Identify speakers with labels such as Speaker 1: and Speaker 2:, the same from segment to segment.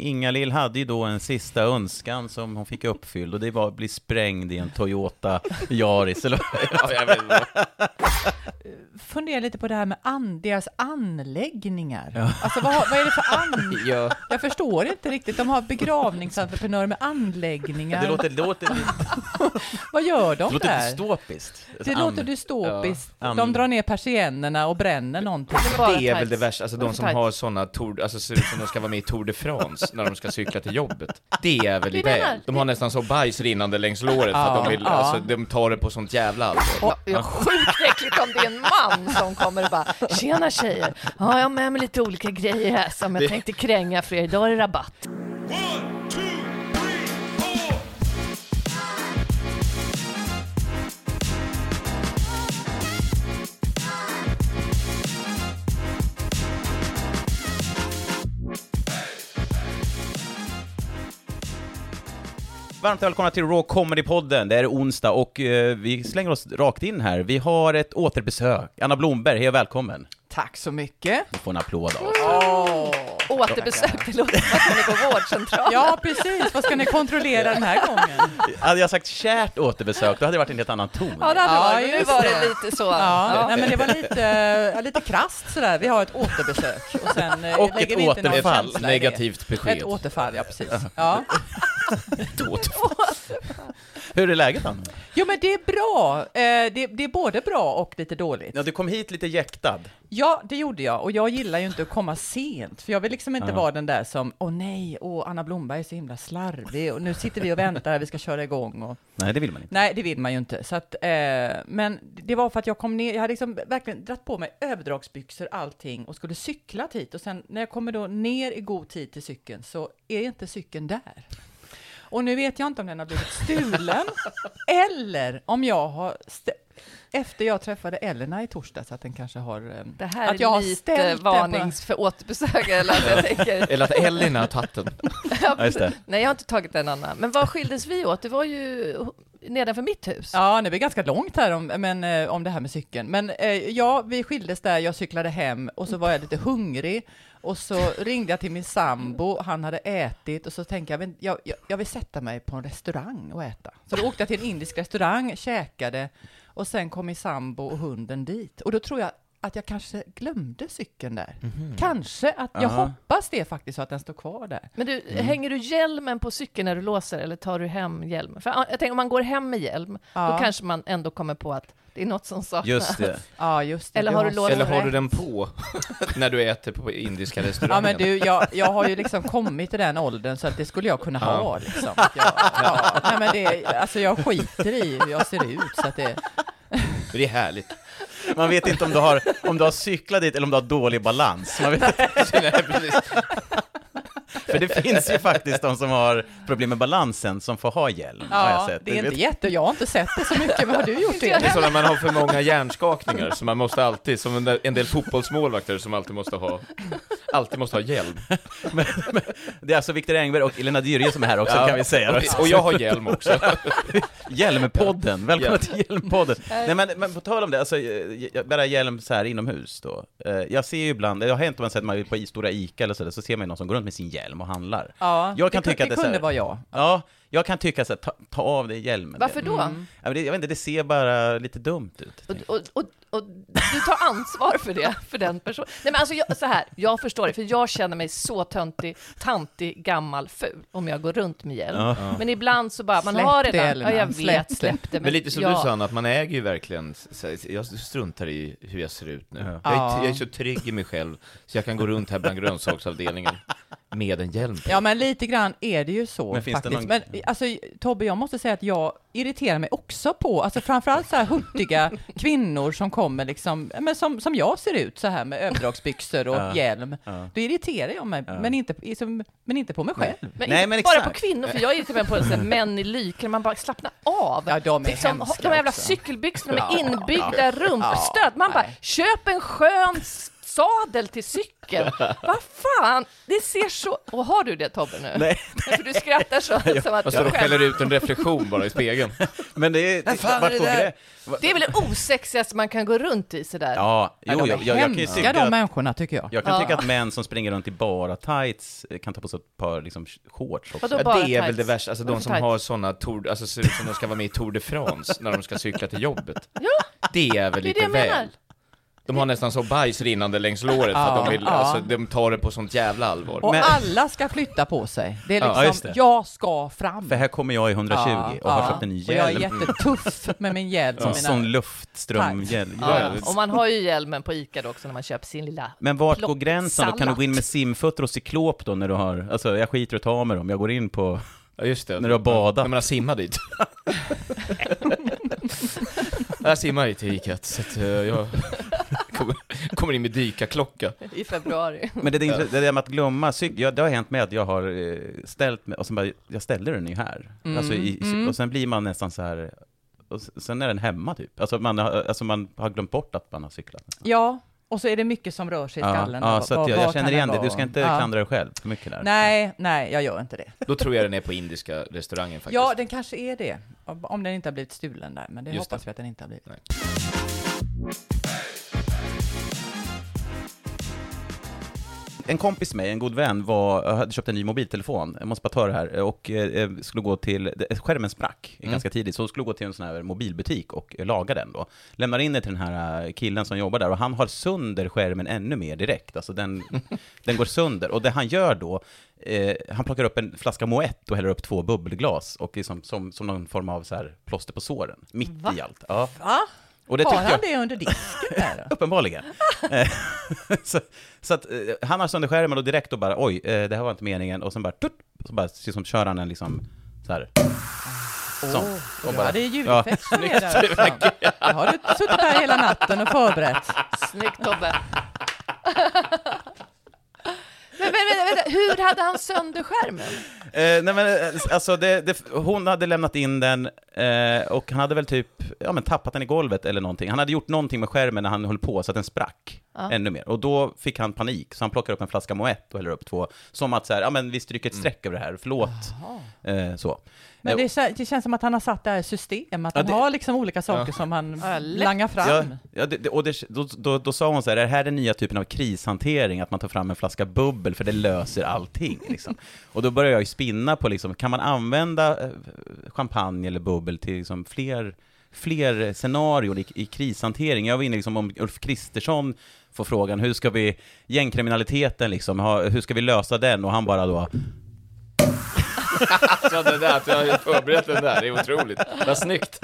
Speaker 1: Inga-Lill hade ju då en sista önskan som hon fick uppfylld och det var att bli sprängd i en Toyota Yaris eller
Speaker 2: Ja, jag vet inte.
Speaker 3: Funderar lite på det här med an, deras anläggningar. Alltså vad, har- vad är det för an?
Speaker 2: Ja.
Speaker 3: Jag förstår inte riktigt. De har begravningsentreprenörer med anläggningar.
Speaker 2: Det låter, det låter, lite-
Speaker 3: Vad gör
Speaker 2: det
Speaker 3: de
Speaker 2: låter
Speaker 3: där?
Speaker 2: dystopiskt.
Speaker 3: Det
Speaker 2: An-
Speaker 3: låter dystopiskt.
Speaker 1: Ja, an-
Speaker 3: De drar ner persiennerna och bränner någonting.
Speaker 4: Bara
Speaker 2: Det är väl
Speaker 4: tights.
Speaker 2: det värsta, alltså
Speaker 4: Bara
Speaker 2: de
Speaker 4: för
Speaker 2: som
Speaker 4: tights.
Speaker 2: har sådana tour, alltså ser ut som de ska vara med i Tour de France när de ska cykla till jobbet. Det är väl
Speaker 4: Det är
Speaker 2: väl.
Speaker 4: det här.
Speaker 2: De har nästan så bajs rinnande längs låret för att de vill,
Speaker 3: Ja, ja.
Speaker 2: alltså de tar det på sånt jävla allvar.
Speaker 4: Ja, ja, sjukt äckligt om det är en man som kommer och bara “Tjena tjejer, ja, jag har med mig lite olika grejer här som jag tänkte kränga för er, idag är det rabatt”.
Speaker 1: Varmt välkomna till Raw Comedy-podden. Det är onsdag och eh, vi slänger oss rakt in här. Vi har ett återbesök. Anna Blomberg, hej och välkommen.
Speaker 3: Tack så mycket.
Speaker 1: Du får en applåd av oss.
Speaker 4: Återbesök, det låter som att man är på vårdcentralen.
Speaker 3: Ja, precis. Vad ska ni kontrollera den här gången?
Speaker 1: Hade jag sagt kärt återbesök, då hade det varit en helt annan ton.
Speaker 4: Ja, det hade
Speaker 3: Ja,
Speaker 4: varit, men nu
Speaker 3: just
Speaker 4: var
Speaker 3: det.
Speaker 4: det lite så.
Speaker 3: Ja, nej, men det var lite, ja, lite krasst sådär. Vi har ett återbesök och sen eh,
Speaker 1: Och
Speaker 3: lägger
Speaker 1: ett
Speaker 3: vi inte någon
Speaker 1: återfall.
Speaker 3: känsla i det.
Speaker 2: Negativt besked.
Speaker 3: Ett återfall, ja precis. Ja.
Speaker 1: Hur är läget Anna?
Speaker 3: Jo men det är bra. Eh, Det, det är både bra och lite dåligt.
Speaker 1: Ja, du kom hit lite jäktad.
Speaker 3: Ja, det gjorde jag och jag gillar ju inte att komma sent för jag vill liksom inte vara den där som åh nej, och Anna Blomberg är så himla slarvig och nu sitter vi och väntar, vi ska köra igång och
Speaker 1: Nej, det vill man inte.
Speaker 3: Nej, det vill man ju inte. Så att, eh, men det var för att jag kom ner, jag hade liksom verkligen dratt på mig överdragsbyxor, allting och skulle cykla hit och sen när jag kommer då ner i god tid till cykeln så är inte cykeln där. Och nu vet jag inte om den har blivit stulen eller om jag har stä- efter jag träffade Elena i torsdags att den kanske har... eh,
Speaker 4: Det här
Speaker 3: att
Speaker 4: är
Speaker 3: jag har ställt
Speaker 4: lite
Speaker 3: den på-
Speaker 4: varnings för återbesök, eller att jag tänker.
Speaker 2: Eller att Elin har tagit den.
Speaker 4: Ja,
Speaker 1: Ja, just det.
Speaker 4: Nej, jag har inte tagit en annan. Men vad skildes vi åt? Det var ju nedanför mitt hus.
Speaker 3: Ja, det blir ganska långt här om, men, eh, om det här med cykeln. Men eh, ja, vi skildes där, jag cyklade hem och så var jag lite hungrig och så ringde jag till min sambo, han hade ätit och så tänkte jag, men jag, jag, jag vill sätta mig på en restaurang och äta. Så då åkte jag till en indisk restaurang, käkade och sen kom min sambo och hunden dit. Och då tror jag att jag kanske glömde cykeln där. Kanske, att jag
Speaker 1: Aha.
Speaker 3: hoppas det faktiskt så att den står kvar där.
Speaker 4: Men du, hänger du hjälmen på cykeln när du låser eller tar du hem hjälmen? För ah, jag tänker om man går hem med hjälm,
Speaker 3: Ja.
Speaker 4: liksom. då kanske man ändå kommer på att det är något som saknas.
Speaker 1: Just det.
Speaker 3: Ja, just det.
Speaker 4: Eller har du låst
Speaker 2: Eller har du
Speaker 4: rätt?
Speaker 2: den på när du äter på indiska
Speaker 3: Ja
Speaker 2: restaurangen?
Speaker 3: men du, jag, jag har ju liksom kommit till den åldern så att det skulle jag kunna ha liksom. Att Jag, ja, nej men det, alltså jag skiter i hur jag ser ut så att det,
Speaker 2: Det är härligt.
Speaker 1: Man vet inte om du har, om du har cyklat dit eller om du har dålig balans. Man vet
Speaker 2: Nej, precis.
Speaker 1: För det finns ju faktiskt de som har problem med balansen som får ha hjälm. har jag
Speaker 3: ja,
Speaker 1: sett.
Speaker 3: det är
Speaker 1: Du
Speaker 3: inte
Speaker 1: vet-
Speaker 3: jätte, jag har inte sett det så mycket, men har du gjort
Speaker 2: Det är
Speaker 3: det?
Speaker 2: så när man har för många hjärnskakningar, så man måste alltid, som en del- en del fotbollsmålvakter som alltid måste ha, alltid måste ha hjälm.
Speaker 1: det är alltså Viktor Engberg och Elena Dyrje som är här också,
Speaker 2: Ja.
Speaker 1: kan vi säga.
Speaker 2: Och- Och jag har hjälm också.
Speaker 1: Hjälmpodden, välkomna
Speaker 2: Ja.
Speaker 1: till Hjälmpodden. Nej men, men på tal om det, alltså, eh, jag bära hjälm så här inomhus då. Eh, Jag ser ju ibland, det har hänt om man sett man är på i- stora Ica eller sådär, så ser man ju någon som går runt med sin hjälm och handlar.
Speaker 3: Ja,
Speaker 1: Jag kan
Speaker 3: det, kun-
Speaker 1: tycka att det
Speaker 3: det
Speaker 1: är så
Speaker 3: kunde
Speaker 1: här-
Speaker 3: vara jag.
Speaker 1: Ja, Jag kan tycka så här, ta, ta av dig hjälmen.
Speaker 5: Varför då?
Speaker 3: Mm.
Speaker 1: Ja, men det, jag vet inte, det ser bara lite dumt ut.
Speaker 5: Och, och, och, och du tar ansvar för det, för den personen. Nej men alltså, jag, så här, jag förstår det, för jag känner mig så töntig, tantig, gammal, ful om jag går runt med hjälm. Men ibland så bara, man
Speaker 3: Släpp
Speaker 5: har
Speaker 3: det,
Speaker 5: redan,
Speaker 3: Elina.
Speaker 5: ja jag
Speaker 3: Släpp det.
Speaker 5: vet, släpp det.
Speaker 2: Men lite som
Speaker 5: ja.
Speaker 2: du sa, Anna, att man äger ju verkligen, så här, jag struntar i hur jag ser ut nu. Jag,
Speaker 3: Ja.
Speaker 2: är, jag är så trygg i mig själv, så jag kan gå runt här bland grönsaksavdelningen med en hjälm på.
Speaker 3: Ja, men lite grann är det ju så
Speaker 1: Men finns det
Speaker 3: faktiskt.
Speaker 1: någon-
Speaker 3: Men alltså, Tobbe, jag måste säga att jag irriterar mig också på, alltså framförallt så här hurtiga kvinnor som kommer liksom, men som, som jag ser ut så här med överdragsbyxor och hjälm. Då irriterar jag mig, men, inte, liksom, men inte på mig själv.
Speaker 5: Men
Speaker 1: Nej,
Speaker 5: inte
Speaker 1: men
Speaker 5: bara på
Speaker 1: exakt.
Speaker 5: kvinnor, för jag är till och med på så här, män i lyken, man bara slappna av.
Speaker 3: Ja, de är
Speaker 5: liksom,
Speaker 3: hemska
Speaker 5: de här jävla
Speaker 3: också.
Speaker 5: cykelbyxorna med inbyggda rumpstöd. Man bara, köp en skön s- sadel till cykeln. Vad fan, det ser så... Och har du det Tobbe nu?
Speaker 1: Nej.
Speaker 5: För du skrattar så som att
Speaker 2: Jag
Speaker 5: du
Speaker 2: står och
Speaker 5: skämtar.
Speaker 2: skäller ut en reflektion bara i spegeln.
Speaker 1: Men det är...
Speaker 2: fan är det
Speaker 1: går
Speaker 2: där?
Speaker 5: Det är väl det osexigaste man kan gå runt i sådär.
Speaker 1: Ja,
Speaker 3: Ja,
Speaker 1: jo,
Speaker 3: de
Speaker 1: jag,
Speaker 3: är
Speaker 1: jag, jag, kan ju
Speaker 3: hemska
Speaker 1: tycka
Speaker 3: de
Speaker 1: att,
Speaker 3: människorna tycker jag.
Speaker 1: jag kan tycka att män som springer runt i bara tights eh, kan ta på sig ett par liksom, shorts också.
Speaker 5: Vadå
Speaker 2: Ja,
Speaker 5: bara
Speaker 2: det är väl
Speaker 5: tights?
Speaker 2: det värsta, alltså de
Speaker 5: Varför
Speaker 2: som
Speaker 5: tights?
Speaker 2: har sådana, tour, alltså ser ut som de ska vara med i Tour de France när de ska cykla till jobbet. Det är väl
Speaker 5: det är
Speaker 2: lite
Speaker 5: det jag
Speaker 2: väl.
Speaker 5: menar.
Speaker 2: De har nästan så bajs rinnande längs låret för att de vill, alltså de tar det på sånt jävla allvar.
Speaker 3: Och
Speaker 1: Men-
Speaker 3: alla ska flytta på sig. Det är
Speaker 2: Ja,
Speaker 3: liksom,
Speaker 1: just det.
Speaker 3: jag ska fram.
Speaker 1: För här kommer jag i 120 och har köpt en
Speaker 3: Och jag är
Speaker 1: hjälm.
Speaker 3: jättetuff med min hjälm.
Speaker 1: Som
Speaker 3: som
Speaker 1: sån
Speaker 3: mina-
Speaker 1: luftströmhjälm.
Speaker 5: Ja,
Speaker 2: Ja,
Speaker 5: ja. Och man har ju hjälmen på ICA då också när man köper sin lilla...
Speaker 1: Men vart
Speaker 5: Plock
Speaker 1: går gränsen då? Kan du
Speaker 5: sallad.
Speaker 1: gå in med simfötter och cyklop då när du har, alltså jag skiter och tar med dem, jag går in på,
Speaker 2: Ja just det.
Speaker 1: När du har badat.
Speaker 2: När man har simmat dit. jag simmar ju till Icat, så att eh, jag kommer, kommer in med dykarklocka.
Speaker 5: i februari.
Speaker 1: men det, är intressant- det där med att glömma cykel, ja, det har hänt mig att jag har eh, ställt mig, och sen bara, jag ställde den ju här.
Speaker 3: Mm.
Speaker 1: Alltså, i, i- Och sen blir man nästan så här, och s- sen är den hemma typ. Alltså man, har- alltså man har glömt bort att man har cyklat.
Speaker 3: Ja, och så är det mycket som rör sig i
Speaker 1: Ja,
Speaker 3: Typ skallen.
Speaker 1: ja,
Speaker 3: Vad-
Speaker 1: så att
Speaker 3: vad-
Speaker 1: jag,
Speaker 3: vad
Speaker 1: jag
Speaker 3: kan
Speaker 1: känner
Speaker 3: det
Speaker 1: igen det,
Speaker 3: vara?
Speaker 1: du ska inte
Speaker 3: Ja.
Speaker 1: klandra dig själv för mycket där.
Speaker 3: Nej, nej, jag gör inte det.
Speaker 2: Då tror jag den är på indiska restaurangen faktiskt.
Speaker 3: Ja, den kanske är det. Om om den inte har blivit stulen där, men det
Speaker 2: Just
Speaker 3: hoppas
Speaker 2: det.
Speaker 3: vi att den inte har blivit.
Speaker 2: Nej.
Speaker 1: En kompis med mig, en god vän, var, hade köpt en ny mobiltelefon, jag måste bara ta det här, och eh, skulle gå till, det- skärmen sprack
Speaker 3: Mm.
Speaker 1: ganska tidigt, så hon skulle gå till en sån här mobilbutik och eh, laga den då. Lämnar in den till den här eh, killen som jobbar där och han har sönder skärmen ännu mer direkt, alltså den, den går sönder. Och det han gör då, eh, han plockar upp en flaska Moët och häller upp två bubbelglas och liksom, som, som någon form av så här plåster på såren, mitt i allt. Ja.
Speaker 3: Va?
Speaker 1: Och det
Speaker 3: har
Speaker 1: tyckte
Speaker 3: han
Speaker 1: jag,
Speaker 3: det under disken där? då?
Speaker 1: Uppenbarligen. Eh, så, så att eh, han har sönder skärmen och direkt och bara oj, eh, det här var inte meningen och sen bara tut, så bara liksom kör han en liksom så här. Sån. Och
Speaker 3: Ja,
Speaker 1: bara,
Speaker 3: det är ljudeffekt som är där. också. Jag har du suttit här hela natten och förberett.
Speaker 5: Snyggt Tobbe! Men, men, men, vänta, hur hade han sönder skärmen?
Speaker 1: eh, nej men eh, alltså det, det, hon hade lämnat in den eh, och han hade väl typ, ja men tappat den i golvet eller någonting. Han hade gjort någonting med skärmen när han höll på så att den sprack ännu mer. Och då fick han panik, så han plockar upp en flaska Moët och häller upp två. Som att så här, ja men vi stryker ett streck över det här, förlåt. Eh, så.
Speaker 3: Mm. Men det, kän- det känns som att han har satt det här i system, att han
Speaker 1: det-
Speaker 3: har liksom olika saker som han
Speaker 5: lätt.
Speaker 3: langar fram.
Speaker 1: Ja, ja det, det- och det, då, då, då sa hon så här, är det här den nya typen av krishantering? Att man tar fram en flaska bubbel för det löser allting. Liksom. Och då började jag ju spinna på, liksom, kan man använda eh, champagne eller bubbel till liksom, fler, fler scenarion i, i krishantering? Jag var inne liksom, om Ulf Kristersson får frågan, hur ska vi, gängkriminaliteten liksom, ha, hur ska vi lösa den? Och han bara då,
Speaker 2: Alltså det där, att jag har förberett den där, det är otroligt. Vad snyggt.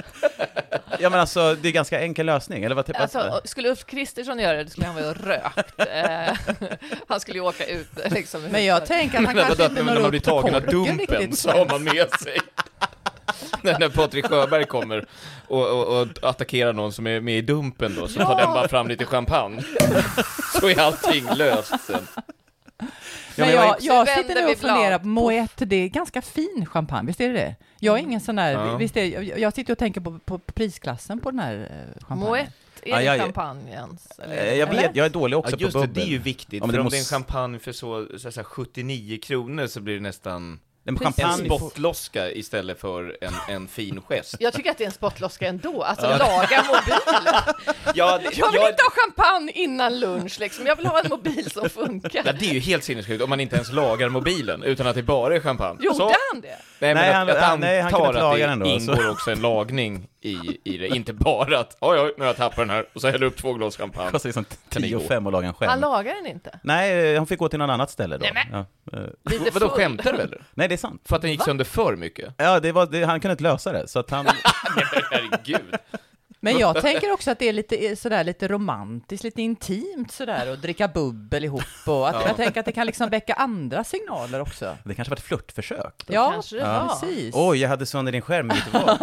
Speaker 1: ja men alltså det är ganska enkel lösning, eller vad typ,
Speaker 5: Alltså, skulle Ulf Kristersson göra det, då skulle han vara rökt. Eh, han skulle ju åka ut liksom.
Speaker 3: Men jag tänker att
Speaker 2: Men
Speaker 3: han
Speaker 2: vadå,
Speaker 3: kanske
Speaker 2: att
Speaker 3: inte når
Speaker 2: när man blir
Speaker 3: upp till
Speaker 2: tagen av
Speaker 3: korken
Speaker 2: dumpen
Speaker 3: riktigt.
Speaker 2: så har man med sig. när, när Patrik Sjöberg kommer och, och, och attackerar någon som är med i dumpen då, så tar den bara fram lite champagne. så är allting löst sen.
Speaker 3: Men
Speaker 1: men jag
Speaker 3: jag,
Speaker 5: är-
Speaker 3: jag
Speaker 5: Så
Speaker 3: sitter
Speaker 5: vänder
Speaker 3: nu
Speaker 5: vi
Speaker 3: och funderar
Speaker 5: blad.
Speaker 3: på Moët, det är ganska fin champagne, visst är det det? Jag är ingen sån där,
Speaker 2: Ja.
Speaker 3: visst är, jag, jag sitter och tänker på, på prisklassen på den här eh, champagnen.
Speaker 5: Moët, är
Speaker 1: Aj, aj,
Speaker 5: det
Speaker 1: aj.
Speaker 5: champagne ens?
Speaker 1: eh, jag vet, jag är dålig också på bubbel.
Speaker 2: viktigt.
Speaker 1: Ja, men
Speaker 2: för
Speaker 1: det
Speaker 2: om det
Speaker 1: måste-
Speaker 2: är en champagne för så, så, att säga 79 kronor så blir det nästan
Speaker 1: men
Speaker 5: Precis.
Speaker 2: En
Speaker 1: champagne...
Speaker 2: spottloska istället för en, en fin gest.
Speaker 5: Jag tycker att det är en spottloska ändå, alltså laga mobilen.
Speaker 2: Ja, det,
Speaker 5: Jag vill
Speaker 2: ja,
Speaker 5: inte ha champagne innan lunch liksom, jag vill ha en mobil som
Speaker 2: ja,
Speaker 5: funkar.
Speaker 2: det är ju helt sinnessjukt om man inte ens lagar mobilen utan att det bara är champagne. Så.
Speaker 5: Gjorde han det?
Speaker 2: Nej, men
Speaker 1: Nej,
Speaker 2: att,
Speaker 1: han-
Speaker 2: att
Speaker 1: han- nej, han
Speaker 2: antar
Speaker 1: kunde inte
Speaker 2: att det
Speaker 1: laga den då,
Speaker 2: ingår
Speaker 1: så.
Speaker 2: också en lagning i, i det. Inte bara att oj, oj, nu har jag tappat den här och så häller jag upp två glas champagne.
Speaker 1: Kostar liksom
Speaker 2: Kan det
Speaker 1: 10
Speaker 2: gå?
Speaker 1: och 5 att laga en själv.
Speaker 5: Han lagar den inte.
Speaker 1: Nej, eh, hon fick gå till något annat ställe då.
Speaker 5: Nej,
Speaker 1: Ja, eh,
Speaker 5: Lite
Speaker 2: Vadå,
Speaker 5: full.
Speaker 2: skämtar du eller?
Speaker 1: Nej, det är sant.
Speaker 2: För att den gick sönder för mycket?
Speaker 1: Ja, det var, det, han kunde inte lösa det, så att han...
Speaker 2: Herregud.
Speaker 3: Men jag tänker också att det är lite, eh, sådär, lite romantiskt, lite intimt sådär att dricka bubbel ihop och att, jag tänker att det kan liksom väcka andra signaler också.
Speaker 1: Det kanske var ett flörtförsök. då.
Speaker 3: Ja,
Speaker 5: kanske det var.
Speaker 3: precis.
Speaker 1: Oj, jag hade sönder din skärm i mitt val.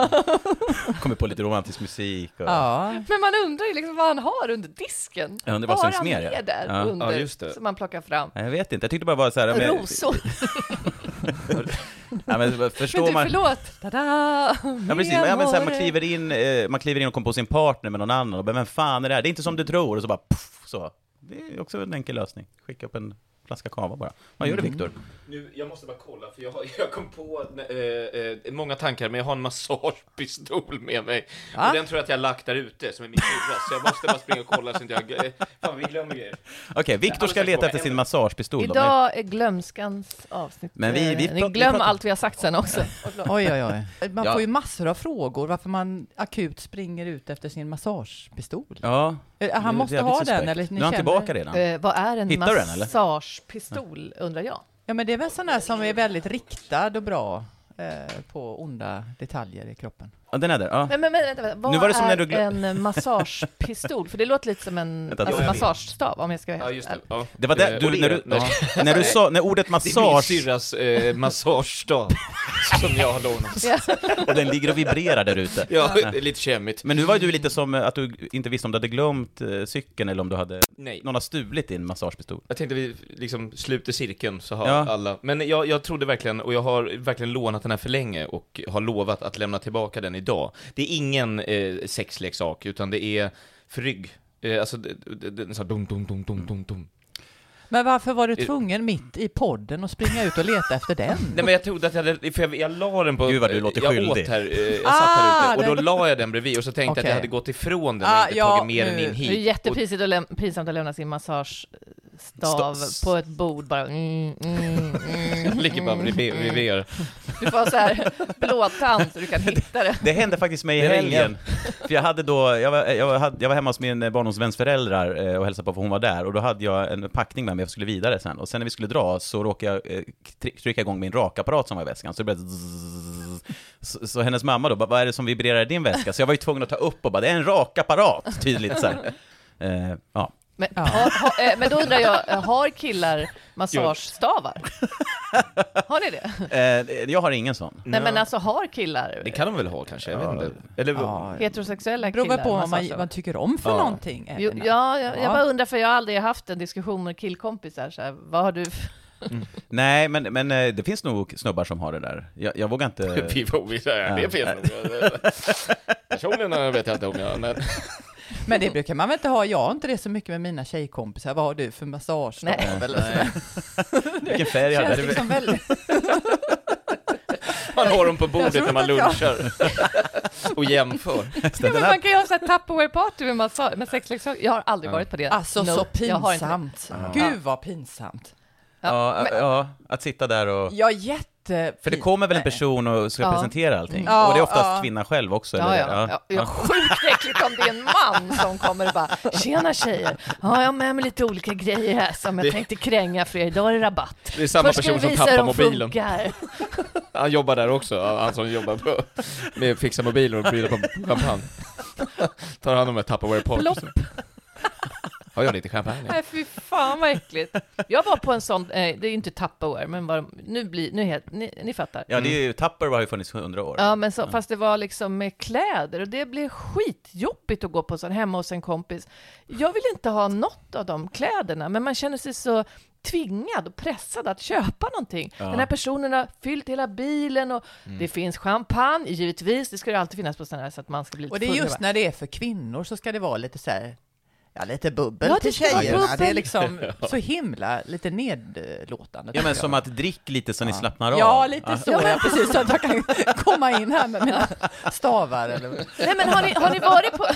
Speaker 1: Kommer på lite romantisk musik och...
Speaker 3: Ja.
Speaker 5: Men man undrar ju liksom vad han har under disken.
Speaker 1: Jag undrar vad
Speaker 5: har
Speaker 1: som
Speaker 5: han
Speaker 1: smerar, ja.
Speaker 5: med där
Speaker 1: Ja.
Speaker 5: under
Speaker 2: Ja, just det.
Speaker 5: som man plockar fram?
Speaker 1: Nej, Jag vet inte, jag tyckte bara var så här... men-
Speaker 5: Rosor.
Speaker 1: Ja, men
Speaker 5: Men
Speaker 1: förstår
Speaker 5: du,
Speaker 1: man...
Speaker 5: förlåt. Ta-da!
Speaker 1: Ja, precis. Ja, men så här, man, kliver in, eh, man kliver in och kommer på sin partner med någon annan och bara, men fan är det här? Det är inte som du tror. Och så bara, puff, så. Det är också en enkel lösning. Skicka upp en flaska cava bara. Vad gör du, Viktor?
Speaker 2: Nu, jag måste bara kolla, för jag, har- jag kom på eh, eh, många tankar, men jag har en massagepistol med mig.
Speaker 3: Va?
Speaker 2: Och den tror jag att jag lagt där ute, som är min sura, så jag måste bara springa och kolla så inte jag... eh, Fan, vi glömmer grejer.
Speaker 1: Okej, Viktor ska leta efter sin massagepistol. då, men-
Speaker 5: Idag är glömskans avsnitt.
Speaker 1: Men vi- vi
Speaker 5: Eh, Ni
Speaker 1: pra- vi
Speaker 5: glöm
Speaker 1: pratar-
Speaker 5: allt vi har sagt sen också.
Speaker 3: Oj, oj, oj. Man
Speaker 1: Ja.
Speaker 3: får ju massor av frågor varför man akut springer ut efter sin massagepistol.
Speaker 1: Ja.
Speaker 3: Eh,
Speaker 1: det är
Speaker 3: Han måste
Speaker 1: jävligt
Speaker 3: ha
Speaker 1: suspekt.
Speaker 3: den, eller ni
Speaker 1: Nu är han
Speaker 3: känner-
Speaker 1: tillbaka redan.
Speaker 5: Eh, vad är en
Speaker 1: Hittar du den, eller?
Speaker 5: massagepistol, undrar jag?
Speaker 3: Ja, men det är väl sån där som är väldigt riktad och bra eh, på onda detaljer i kroppen.
Speaker 1: Ja, den är där. Ja.
Speaker 5: Men, men, men vänta, vänta. Vad
Speaker 1: Nu var det
Speaker 5: är
Speaker 1: som när du glö-
Speaker 5: en massagepistol? För det låter lite som en
Speaker 1: Vänta,
Speaker 5: alltså,
Speaker 1: jag vet.
Speaker 5: massagestav, om jag ska vara
Speaker 2: Ja,
Speaker 5: helt
Speaker 2: just det.
Speaker 5: ärlig.
Speaker 2: Ja.
Speaker 1: Det var
Speaker 2: Eh,
Speaker 1: där,
Speaker 2: och
Speaker 1: du, när,
Speaker 2: är
Speaker 1: du,
Speaker 2: den.
Speaker 1: ja, när du sa, när ordet
Speaker 2: Det är min
Speaker 1: massage,
Speaker 2: syrras eh, massagestav som jag har lånat.
Speaker 1: och den ligger och vibrerar där ute.
Speaker 2: Ja, det är lite kämmigt.
Speaker 1: Men nu var ju du lite som eh, att du inte visste om du hade glömt eh, cykeln eller om du hade,
Speaker 2: Nej.
Speaker 1: någon har stulit din massagepistol.
Speaker 2: Jag tänkte vi liksom sluter cirkeln så har
Speaker 1: Ja.
Speaker 2: alla, men jag, jag trodde verkligen, och jag har verkligen lånat den här för länge och har lovat att lämna tillbaka den idag. Det är ingen eh, sexleksak, utan det är för rygg. Eh, alltså, det- det- det- den sa dum, dum, dum, dum, dum, dum.
Speaker 3: Men varför var du
Speaker 2: Eh.
Speaker 3: tvungen mitt i podden att springa ut och leta efter den?
Speaker 2: Nej men jag trodde att jag hade, för jag, jag la den på...
Speaker 1: Gud, vad du låter
Speaker 2: jag
Speaker 1: skyldig.
Speaker 2: åt här, eh, jag
Speaker 3: Ah,
Speaker 2: satt här ute, och då
Speaker 3: den-
Speaker 2: la jag den bredvid och så tänkte jag att jag
Speaker 3: Okej.
Speaker 2: hade gått ifrån den och
Speaker 3: Ah,
Speaker 2: inte
Speaker 3: ja,
Speaker 2: tagit med den
Speaker 3: nu.
Speaker 2: in hit.
Speaker 5: Det är
Speaker 2: Och-
Speaker 5: jättepinsamt att, läm- pinsamt att lämna sin massagestav
Speaker 1: Sta-
Speaker 5: på ett bord bara. Mm, mm, mm.
Speaker 2: Jag ligger bara bredvid, bredvid er.
Speaker 5: Du får ha så här blåtand så du kan hitta det.
Speaker 1: Det hände faktiskt mig
Speaker 2: Det
Speaker 1: i
Speaker 2: ringer.
Speaker 1: helgen. För jag, hade då, jag, var, jag, hade, jag var hemma hos min eh, barndomsväns föräldrar eh, och hälsade på för hon var där. Och då hade jag en packning med mig, jag skulle vidare sen. Och sen när vi skulle dra så råkade jag eh, try- trycka igång min rakapparat som var i väskan. Så det blev zzzz. så, så hennes mamma då bara, vad är det som vibrerar i din väska? Så jag var ju tvungen att ta upp och bara, det är en rakapparat, tydligt så här. Eh, ja.
Speaker 5: Men, har, har, eh, men då undrar jag, eh, har killar massagestavar? Har ni det? Nej,
Speaker 1: eh, jag har ingen sån.
Speaker 2: Mm.
Speaker 5: men alltså har killar?
Speaker 2: Det kan de väl ha kanske, jag vet inte. Eller,
Speaker 3: Ja,
Speaker 5: Heterosexuella
Speaker 3: det beror väl
Speaker 5: killar
Speaker 3: på vad man,
Speaker 5: massagestavar?
Speaker 3: man tycker om för
Speaker 2: Ja.
Speaker 3: någonting.
Speaker 5: Jo,
Speaker 3: även.
Speaker 5: ja, jag,
Speaker 3: Ja.
Speaker 5: jag bara undrar, för jag har aldrig haft en diskussion med killkompisar, så här, vad har du för...
Speaker 1: Nej, men, men eh, det finns nog snubbar som har det där. Jag, jag vågar inte...
Speaker 2: Vi får vi säga, det finns nog. Personligen vet jag inte om jag, men...
Speaker 3: Men det brukar man väl inte ha? Jag har inte det så mycket med mina tjejkompisar. Vad har du för massagestav eller
Speaker 2: uh,
Speaker 3: sådär?
Speaker 1: Vilken färg hade
Speaker 3: Känns
Speaker 1: du?
Speaker 3: liksom väldigt...
Speaker 2: Man har dem på bordet när man lunchar. Och jämför.
Speaker 5: Ja, men man kan ju ha så här tupperware-party med, massa- med sexleksaker. Jag har aldrig varit på det.
Speaker 3: Alltså
Speaker 5: No,
Speaker 3: så
Speaker 5: jag har inte det.
Speaker 3: pinsamt. Gud vad pinsamt.
Speaker 1: Ja, ja, att sitta där och...
Speaker 3: Ja, jätte...
Speaker 1: För det kommer väl en person och ska
Speaker 5: Ja.
Speaker 1: presentera allting?
Speaker 3: Ja,
Speaker 1: och det är oftast
Speaker 3: ja.
Speaker 1: kvinnan själv också?
Speaker 5: Ja,
Speaker 1: eller?
Speaker 5: ja. ja. ja. Sjukt äckligt om det är en man som kommer och bara ”Tjena tjejer, ja, jag har med mig lite olika grejer här som jag tänkte kränga för er, idag är det rabatt”.
Speaker 2: Det är samma
Speaker 5: Först ska
Speaker 2: person
Speaker 5: vi
Speaker 2: som
Speaker 5: visa
Speaker 2: tappar
Speaker 5: hur de
Speaker 2: mobilen.
Speaker 5: Funkar.
Speaker 2: Han jobbar där också, han som jobbar på, med att fixa mobiler och bjuda på champagne. Tar hand om ett Tupperware
Speaker 5: Plopp.
Speaker 2: party. Har jag lite champagne?
Speaker 5: Nej, fy fan vad äckligt. Jag var på en sån, eh, det är inte Tupperware, men vad, de- nu blir, nu heter, ni, ni fattar.
Speaker 1: Ja, det är ju, Tupperware har ju funnits hundra år.
Speaker 5: Mm. Ja, men så, fast det var liksom med kläder och det blev skitjobbigt att gå på sån hemma hos en kompis. Jag vill inte ha något av de kläderna, men man känner sig så tvingad och pressad att köpa någonting. Den här personen har fyllt hela bilen och
Speaker 1: Mm.
Speaker 5: det finns champagne, givetvis. Det ska ju alltid finnas på sådana här så att man ska bli lite
Speaker 3: Och det är
Speaker 5: full.
Speaker 3: just när det är för kvinnor så ska det vara lite så här Ja, lite bubbel
Speaker 5: Ja, det
Speaker 3: till
Speaker 5: ska vara
Speaker 3: tjejerna. Det är
Speaker 5: bubbel.
Speaker 3: liksom så himla lite nedlåtande.
Speaker 1: Ja,
Speaker 3: tycker
Speaker 1: men
Speaker 3: jag.
Speaker 1: som att drick lite så ni slappnar av. Alltså.
Speaker 3: Ja, lite så.
Speaker 5: Ja, men-
Speaker 3: Ja, precis, så att jag kan komma in här med mina stavar. Eller...
Speaker 5: Nej men har ni, har ni varit på...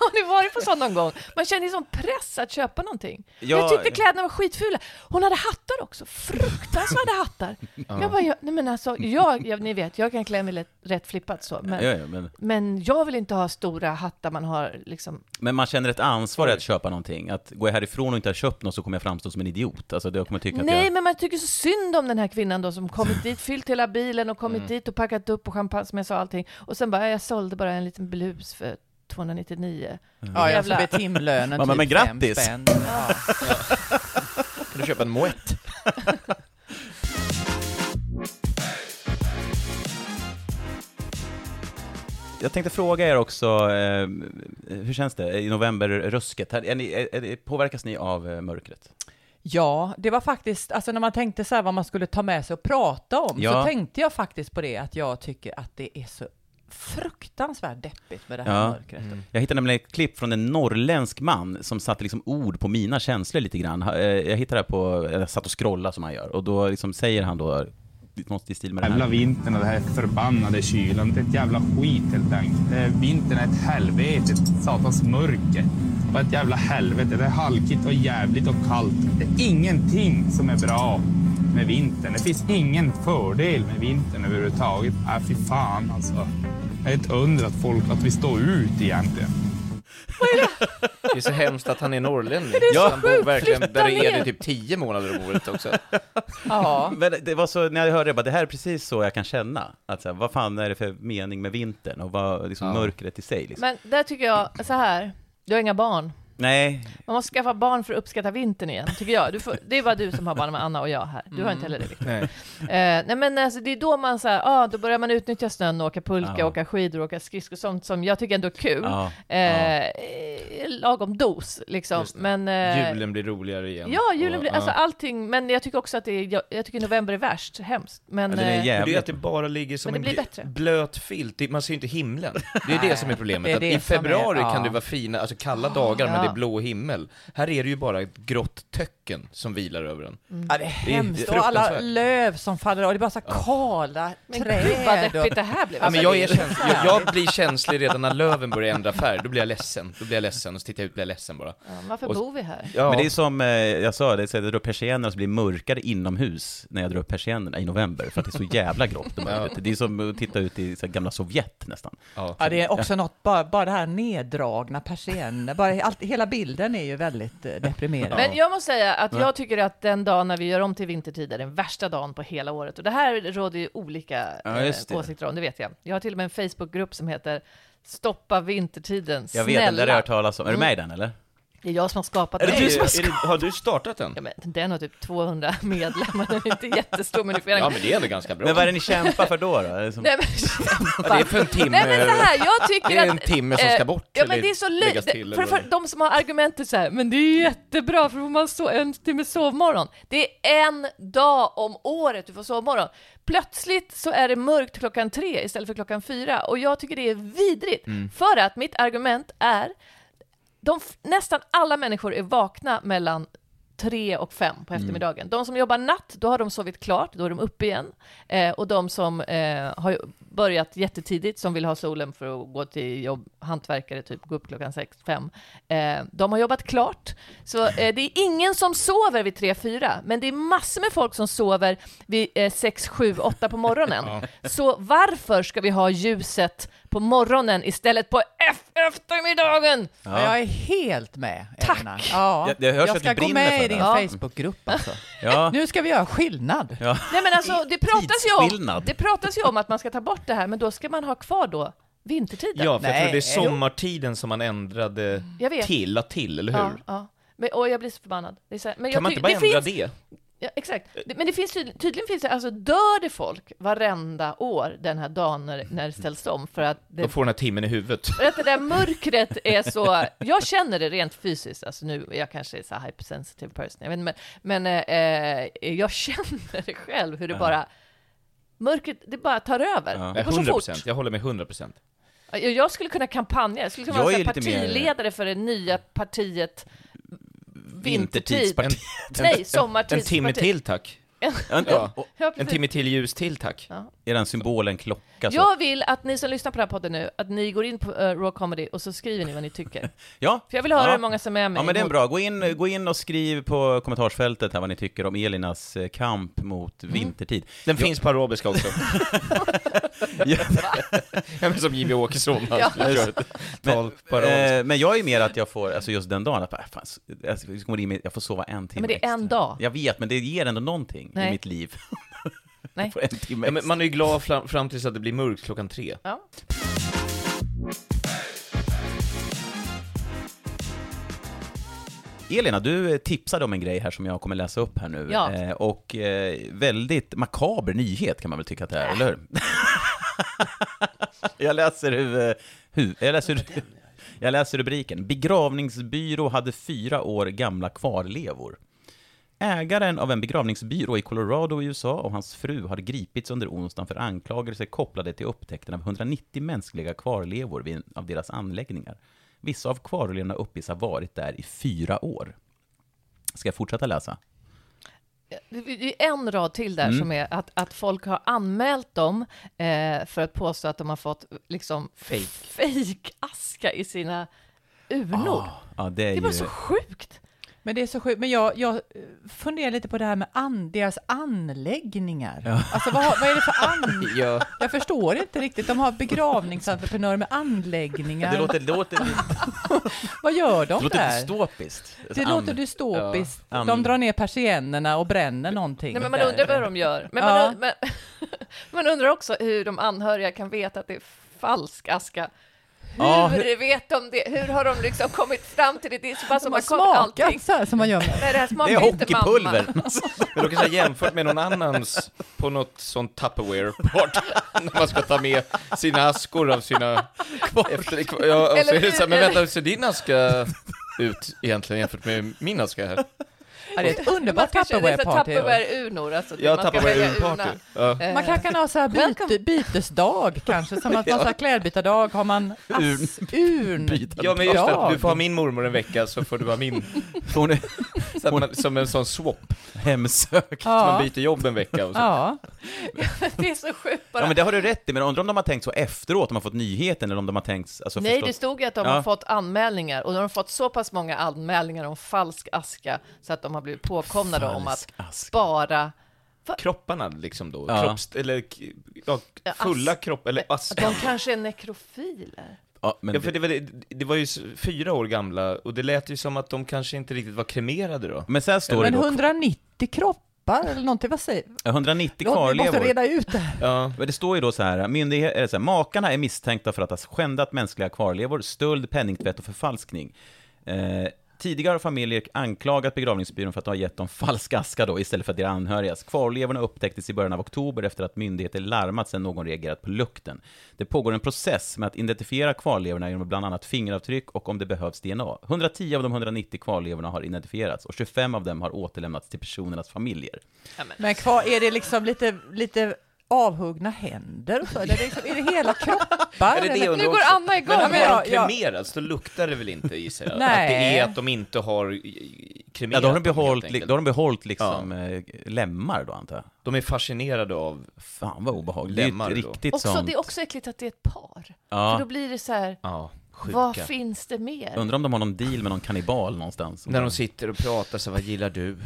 Speaker 5: har ni varit på sån någon gång? Man känner ju sån press att köpa någonting.
Speaker 1: Ja.
Speaker 5: Jag tyckte kläderna var skitfula. Hon hade hattar också, fruktansvärda hattar. Men jag bara, jag, nej men alltså, jag, jag, ni vet, jag kan klä mig lätt, rätt flippat så, men,
Speaker 1: Ja, ja, men,
Speaker 5: men jag vill inte ha stora hattar man har liksom...
Speaker 1: men man känner ett ansvar i att köpa någonting. Att gå härifrån och inte ha köpt något så kommer jag framstå som en idiot. Alltså, jag kommer tycka att
Speaker 5: Nej,
Speaker 1: jag...
Speaker 5: men man tycker så synd om den här kvinnan då som kommit dit, fyllt hela bilen och kommit
Speaker 1: Mm.
Speaker 5: dit och packat upp och champagne som jag sa allting. Och sen bara, jag sålde bara en liten blus för 299.
Speaker 3: Ja, jag
Speaker 5: Jävla-
Speaker 3: får be timlönen
Speaker 1: Mm. Ja, men
Speaker 3: typ
Speaker 1: grattis.
Speaker 3: fem spänn. Ja.
Speaker 2: Kan du köpa en moett?
Speaker 1: Jag tänkte fråga er också, eh, hur känns det i novemberrösket? Här- Är ni, är, är, påverkas ni av eh, mörkret?
Speaker 3: Ja, det var faktiskt, alltså när man tänkte så här vad man skulle ta med sig och prata om,
Speaker 1: Ja.
Speaker 3: så tänkte jag faktiskt på det, att jag tycker att det är så fruktansvärt deppigt med det här
Speaker 1: Ja. Mm.
Speaker 3: mörkret.
Speaker 1: Jag hittade nämligen ett klipp från en norrländsk man som satte liksom ord på mina känslor lite grann. Ha- eh, Jag hittade det här på, jag satt och scrollade som han gör, och då liksom säger han då något i stil med det
Speaker 6: Jävla
Speaker 1: här.
Speaker 6: vintern och den här förbannade kylan. Det är ett jävla skit helt enkelt. Det är- Vintern är ett helvete. Ett satans mörker. Vad ett jävla helvete. Det är halkigt och jävligt och kallt. Det är ingenting som är bra med vintern. Det finns ingen fördel med vintern överhuvudtaget. Äh, fy fan alltså. Det är ett under att folk, att vi står ut egentligen.
Speaker 2: Det är så hemskt att han är norrlänning.
Speaker 5: så
Speaker 2: han bor
Speaker 5: sjukt.
Speaker 2: verkligen
Speaker 5: Flytta
Speaker 2: där det är
Speaker 5: ner.
Speaker 2: det typ tio månader om året också.
Speaker 3: Ja.
Speaker 1: Men det var så, när jag hörde det, jag bara, det här är precis så jag kan känna. Att så här, vad fan är det för mening med vintern och vad, liksom, mörkret i sig? Liksom.
Speaker 5: Men där tycker jag, så här, du har inga barn.
Speaker 1: Nej,
Speaker 5: Man måste skaffa barn för att uppskatta vintern igen, tycker jag. Du får, det är bara du som har barn med Anna och jag här. Du har
Speaker 2: Mm.
Speaker 5: inte heller det, Victor.
Speaker 2: Nej.
Speaker 5: Eh, nej men alltså, det är då man så här, ah, då börjar man utnyttja snön och åka pulka,
Speaker 1: Ja.
Speaker 5: åka skidor, åka skridskor, sånt som jag tycker ändå är kul.
Speaker 1: Ja,
Speaker 5: Eh,
Speaker 1: ja.
Speaker 5: eh, Lagom dos, liksom. Men, eh,
Speaker 2: Julen blir roligare igen.
Speaker 5: Ja, julen
Speaker 2: Och,
Speaker 5: blir,
Speaker 2: ja.
Speaker 5: alltså allting, men jag tycker också att det är, jag, jag tycker november är värst, hemskt. Men,
Speaker 1: ja, den är
Speaker 5: eh,
Speaker 2: Men det är ju att
Speaker 1: jävligt...
Speaker 2: det bara ligger som
Speaker 5: Men det
Speaker 2: en
Speaker 5: blir
Speaker 2: bl-
Speaker 5: bättre.
Speaker 2: blöt filt, Det- man ser ju inte himlen. Det är det som är
Speaker 3: det
Speaker 2: problemet,
Speaker 3: är
Speaker 2: att
Speaker 3: det
Speaker 2: i
Speaker 3: som är-
Speaker 2: februari
Speaker 3: ja.
Speaker 2: kan det vara fina, alltså kalla dagar men det
Speaker 5: ja.
Speaker 2: är blå himmel. Här är det ju bara ett grått töcken som vilar över en.
Speaker 5: Mm.
Speaker 3: Ja, det är
Speaker 2: Det är
Speaker 3: hemskt. Och alla
Speaker 2: fruktansvärt.
Speaker 3: löv som faller av. Det är bara så här kala
Speaker 5: men
Speaker 3: träd.
Speaker 5: gud vad
Speaker 3: och-
Speaker 5: deppigt Alltså, det här blev.
Speaker 2: Ja, men jag, är
Speaker 3: det är
Speaker 2: käns- jag, jag blir känslig redan när löven börjar ändra färg, då blir jag ledsen. Då blir jag ledsen och så tittar jag ut och blir jag ledsen bara.
Speaker 5: Ja, Varför
Speaker 2: Och-
Speaker 5: bor vi här?
Speaker 2: Ja.
Speaker 1: Men det är som eh, jag sa, det är så att jag drar upp persiennerna så blir det mörkare inomhus när jag drar upp persiennerna i november, för att det är så jävla grått. och mörkt. Det är som att titta ut i så här, gamla Sovjet nästan.
Speaker 2: ja.
Speaker 3: Ja, det är också något, bara, bara det här neddragna persienner, bara allt, hela bilden är ju väldigt eh, deprimerande.
Speaker 5: Men jag måste säga att jag tycker att den dagen när vi gör om till vintertid är den värsta dagen på hela året. Och det här råder ju olika
Speaker 1: Ja,
Speaker 5: eh,
Speaker 1: just det.
Speaker 5: åsikter om, det vet jag. Jag har till och med en Facebookgrupp som heter Stoppa vintertiden,
Speaker 1: Jag vet,
Speaker 5: snälla.
Speaker 1: den där har jag hört talas om. Är du med i den eller?
Speaker 5: Det är jag som har skapat
Speaker 2: Är det
Speaker 5: den.
Speaker 2: du som har, är det, har du startat den?
Speaker 5: Ja, men den har typ 200 medlemmar, den är inte jättestor men det är flera
Speaker 2: Ja, men det är ändå ganska bra.
Speaker 1: Men vad är det ni kämpar för då? då? Är det som...
Speaker 5: Nej, men,
Speaker 2: Ja, det är för en timme.
Speaker 5: Nej men så här, jag tycker
Speaker 2: Det är en
Speaker 5: att,
Speaker 2: timme som
Speaker 5: eh,
Speaker 2: ska bort,
Speaker 5: Ja men
Speaker 2: eller
Speaker 5: det är så
Speaker 2: läggas till,
Speaker 5: löjligt. För,
Speaker 2: eller
Speaker 5: för
Speaker 2: vad?
Speaker 5: de som har argumentet så här, men det är jättebra för då får man so en timme sovmorgon. Det är en dag om året du får sovmorgon. Plötsligt så är det mörkt klockan tre istället för klockan fyra och jag tycker det är vidrigt.
Speaker 2: Mm.
Speaker 5: För att mitt argument är, de, f- nästan alla människor är vakna mellan tre och fem på eftermiddagen. De som jobbar natt, då har de sovit klart, då är de uppe igen. Eh, och de som eh, har ju börjat jättetidigt, som vill ha solen för att gå till jobb, hantverkare, typ gå upp klockan sex, fem, eh, de har jobbat klart. Så eh, det är ingen som sover vid tre, fyra, men det är massor med folk som sover vid eh, sex, sju, åtta på morgonen. Så varför ska vi ha ljuset på morgonen istället på ef- eftermiddagen?
Speaker 3: Ja, Jag är helt med, Elina.
Speaker 1: Jag-
Speaker 3: Ja.
Speaker 1: jag hörs att du
Speaker 3: ska gå
Speaker 1: brinner
Speaker 3: med
Speaker 1: för
Speaker 3: i din
Speaker 1: det.
Speaker 5: Ja.
Speaker 3: Facebookgrupp alltså.
Speaker 1: Ja.
Speaker 3: Nu ska vi göra skillnad.
Speaker 1: Ja.
Speaker 5: Nej men alltså det pratas, ju om,
Speaker 1: Tidsskillnad.
Speaker 5: det pratas ju om att man ska ta bort det här, men då ska man ha kvar då vintertiden.
Speaker 2: Ja, för jag
Speaker 3: Nej,
Speaker 2: tror det är
Speaker 3: jo.
Speaker 2: sommartiden som man ändrade
Speaker 5: Jag vet.
Speaker 2: till, la till, eller hur?
Speaker 5: Ja, ja. Men, och jag blir så förbannad. Det är så här, men
Speaker 2: Kan
Speaker 5: jag
Speaker 2: man
Speaker 5: ty-
Speaker 2: inte bara
Speaker 5: det
Speaker 2: ändra
Speaker 5: finns,
Speaker 2: det?
Speaker 5: Ja, exakt. Det- Men det finns tydligen, tydligen finns det, alltså dör det folk varenda år den här dagen när, när det ställs om för att det,
Speaker 2: Då får den här timmen i huvudet.
Speaker 5: för att det där mörkret är så, jag känner det rent fysiskt, alltså nu, jag kanske är så här hypersensitive person, jag vet inte, men, men eh, eh, jag känner det själv hur det bara, mörkret, det bara tar över.
Speaker 1: Ja.
Speaker 5: Det går så fort.
Speaker 2: 100%, jag håller med 100%.
Speaker 5: Jag jag skulle kunna kampanja, jag skulle kunna
Speaker 1: Jag
Speaker 5: vara
Speaker 1: är
Speaker 5: så här
Speaker 1: lite mer-
Speaker 5: partiledare för det nya partiet
Speaker 1: Vintertidsparti.
Speaker 5: Nej,
Speaker 2: En timme
Speaker 5: sommartidsparti.
Speaker 2: till tack.
Speaker 1: Ja.
Speaker 2: Ja.
Speaker 5: Ja,
Speaker 2: En
Speaker 5: precis.
Speaker 2: timme till ljus till tack.
Speaker 1: Är den symbolen klocka? Så.
Speaker 5: Jag vill att ni som lyssnar på den här podden nu, att ni går in på eh, Raw Comedy och så skriver ni vad ni tycker.
Speaker 1: ja.
Speaker 5: För jag vill höra
Speaker 1: Ja.
Speaker 5: hur många som är med.
Speaker 1: Ja, men det är en
Speaker 5: emot.
Speaker 1: bra. Gå in, gå in och skriv på kommentarsfältet här vad ni tycker om Elinas eh, kamp mot
Speaker 5: Mm.
Speaker 1: vintertid.
Speaker 2: Den finns på arabiska också.
Speaker 1: Ja,
Speaker 2: Ja, men som Jimmy Åkesson, han skulle köra ett tal på arabiska.
Speaker 1: eh, men jag är mer att jag får, alltså just den dagen, att bara, fan, s- jag ska- jag kommer in med- jag får sova en timme
Speaker 5: Men det är
Speaker 1: extra.
Speaker 5: en dag.
Speaker 1: Jag vet, men det ger ändå någonting i
Speaker 5: Nej.
Speaker 1: mitt liv.
Speaker 5: Nej.
Speaker 1: På en timme
Speaker 2: Ja, men
Speaker 1: extra.
Speaker 2: man är ju glad fram, fram tills att det blir mörkt klockan tre.
Speaker 5: Ja.
Speaker 1: Elina, du eh, tipsade om en grej här som jag kommer läsa upp här nu.
Speaker 5: Ja.
Speaker 1: Eh, och eh, väldigt makaber nyhet kan man väl tycka att det är, eller hur? jag läser hu, hu, jag läser, jag läser rubriken. Begravningsbyrå hade fyra år gamla kvarlevor. Ägaren av en begravningsbyrå i Colorado i USA och hans fru har gripits under onsdagen för anklagelser kopplade till upptäckten av 190 mänskliga kvarlevor vid en av deras anläggningar. Vissa av kvarlevorna uppges ha varit där i fyra år. Ska jag fortsätta läsa?
Speaker 5: Det det är en rad till där som är att, att folk har anmält dem eh, för att påstå att de har fått liksom fake, aska i sina urnor.
Speaker 1: Ja, Ah, det är,
Speaker 5: det är
Speaker 1: ju...
Speaker 5: bara så sjukt.
Speaker 3: Men det är så sjukt. Men jag, jag eh, funderar lite på det här med an, deras anläggningar. Alltså vad, har- vad är det för an?
Speaker 2: Ja.
Speaker 3: Jag förstår inte riktigt. De har begravningsentreprenörer med anläggningar.
Speaker 1: Det låter, det låter, lite-
Speaker 3: Vad gör
Speaker 1: det
Speaker 3: de
Speaker 1: låter
Speaker 3: där?
Speaker 1: dystopiskt.
Speaker 3: Det
Speaker 1: An-
Speaker 3: låter dystopiskt.
Speaker 1: Ja.
Speaker 3: De drar ner persiennerna och bränner någonting.
Speaker 5: Nej, men man undrar vad de gör. Men
Speaker 3: Ja.
Speaker 5: man, und- men, man undrar också hur de anhöriga kan veta att det är falsk aska. Hur,
Speaker 1: Ja,
Speaker 5: vet de det? Hur har de liksom kommit fram till det? Det är så bara som
Speaker 3: De har
Speaker 5: att smakat.
Speaker 3: smakat
Speaker 5: Alltså, allting.
Speaker 3: Alltså, så här som man gör med.
Speaker 5: Nej, det här
Speaker 1: Det
Speaker 5: smakar
Speaker 1: är
Speaker 5: inte mamma.
Speaker 1: hockeypulver.
Speaker 2: Men då kanske jag jämfört med någon annans på något sånt Tupperware-party när man ska ta med sina askor av sina... Efter, ja, och så är det så här, men vänta, hur ser din aska ut egentligen jämfört med min aska här?
Speaker 3: Ja, det är ett
Speaker 5: Man
Speaker 3: underbart
Speaker 5: kanske- det är så här
Speaker 3: Tupperware-party.
Speaker 5: Tupperware-urnor, alltså.
Speaker 2: Ja,
Speaker 5: Man ska välja urna.
Speaker 2: Tupperware-party. Ja.
Speaker 5: Eh,
Speaker 3: Man kanske kan ha så här byte,
Speaker 5: Welcome.
Speaker 3: bytesdag kanske, som att man så här klädbytardag har man ass, urn.
Speaker 2: ja, men just det,
Speaker 3: Dag.
Speaker 2: du får ha min mormor en vecka så får du ha min.
Speaker 1: Hon är
Speaker 2: Så att man, som en sån swap,
Speaker 1: hemsökt.
Speaker 2: man
Speaker 3: Ja,
Speaker 2: byter jobb en vecka och så.
Speaker 3: ja.
Speaker 5: Det är så sjukt bara.
Speaker 1: Ja men det har du rätt i, men jag undrar om de har tänkt så efteråt, om de har fått nyheten, eller om de har tänkt, alltså
Speaker 5: Nej,
Speaker 1: förstått-
Speaker 5: det stod ju att de
Speaker 1: Ja.
Speaker 5: har fått anmälningar och de har fått så pass många anmälningar om falsk aska så att de har blivit påkomnade om att
Speaker 1: Falsk aska.
Speaker 5: spara
Speaker 2: Kropparna liksom då,
Speaker 1: Ja.
Speaker 2: Kropps, eller ja, fulla kropp, eller
Speaker 5: att
Speaker 2: aska.
Speaker 5: de kanske är nekrofiler.
Speaker 1: Ja, men
Speaker 2: Ja, för det, var, det, det var ju s- fyra år gamla, och det lät ju som att de kanske inte riktigt var kremerade då.
Speaker 1: Men sen står
Speaker 3: Men
Speaker 1: det
Speaker 3: 190 kroppar eller någonting, vad säger
Speaker 1: då, 190
Speaker 3: Låt- Vi måste
Speaker 1: kvarlevor.
Speaker 3: reda ut det här.
Speaker 2: Ja.
Speaker 1: Men Det står ju då så här, myndighet, eller så här, makarna är misstänkta för att ha skändat mänskliga kvarlevor, stöld, penningtvätt och förfalskning. Eh, tidigare har familjer anklagat begravningsbyrån för att ha gett dem falsk aska då, istället för deras anhörigas. Kvarlevorna upptäcktes i början av oktober efter att myndigheter larmat sedan någon reagerat på lukten. Det pågår en process med att identifiera kvarlevorna genom bland annat fingeravtryck och om det behövs DNA. 110 av de 190 kvarlevorna har identifierats och 25 av dem har återlämnats till personernas familjer.
Speaker 3: Men kvar, är det liksom lite, lite avhuggna händer och så? Eller är det, liksom, är det hela kroppar?
Speaker 2: Är det det
Speaker 3: eller?
Speaker 2: jag undrar
Speaker 5: Nu går
Speaker 2: också?
Speaker 5: Anna igång.
Speaker 2: Men
Speaker 3: Ja,
Speaker 2: har
Speaker 3: men
Speaker 2: de
Speaker 3: jag-
Speaker 2: kremerats, då luktar det väl inte gissar jag? Att det
Speaker 3: Nej.
Speaker 2: är att de inte har i- i-
Speaker 1: Ja,
Speaker 2: kremerat
Speaker 1: då har de
Speaker 2: dem, helt
Speaker 1: behållit, li-
Speaker 2: enkelt.
Speaker 1: då har de behållit liksom eh, lemmar då antar jag.
Speaker 2: De är fascinerade av...
Speaker 1: Fan vad obehagligt. Det är
Speaker 2: Lemmar
Speaker 1: ju
Speaker 2: då.
Speaker 1: ett riktigt
Speaker 5: Också,
Speaker 1: sånt.
Speaker 5: Det är också äckligt att det är ett par. För då
Speaker 1: Ja.
Speaker 5: blir det så här,
Speaker 2: Ja,
Speaker 5: vad
Speaker 2: sjuka.
Speaker 5: finns det mer?
Speaker 1: Undrar om de har någon deal med någon kannibal någonstans.
Speaker 2: När de sitter och pratar så vad gillar du?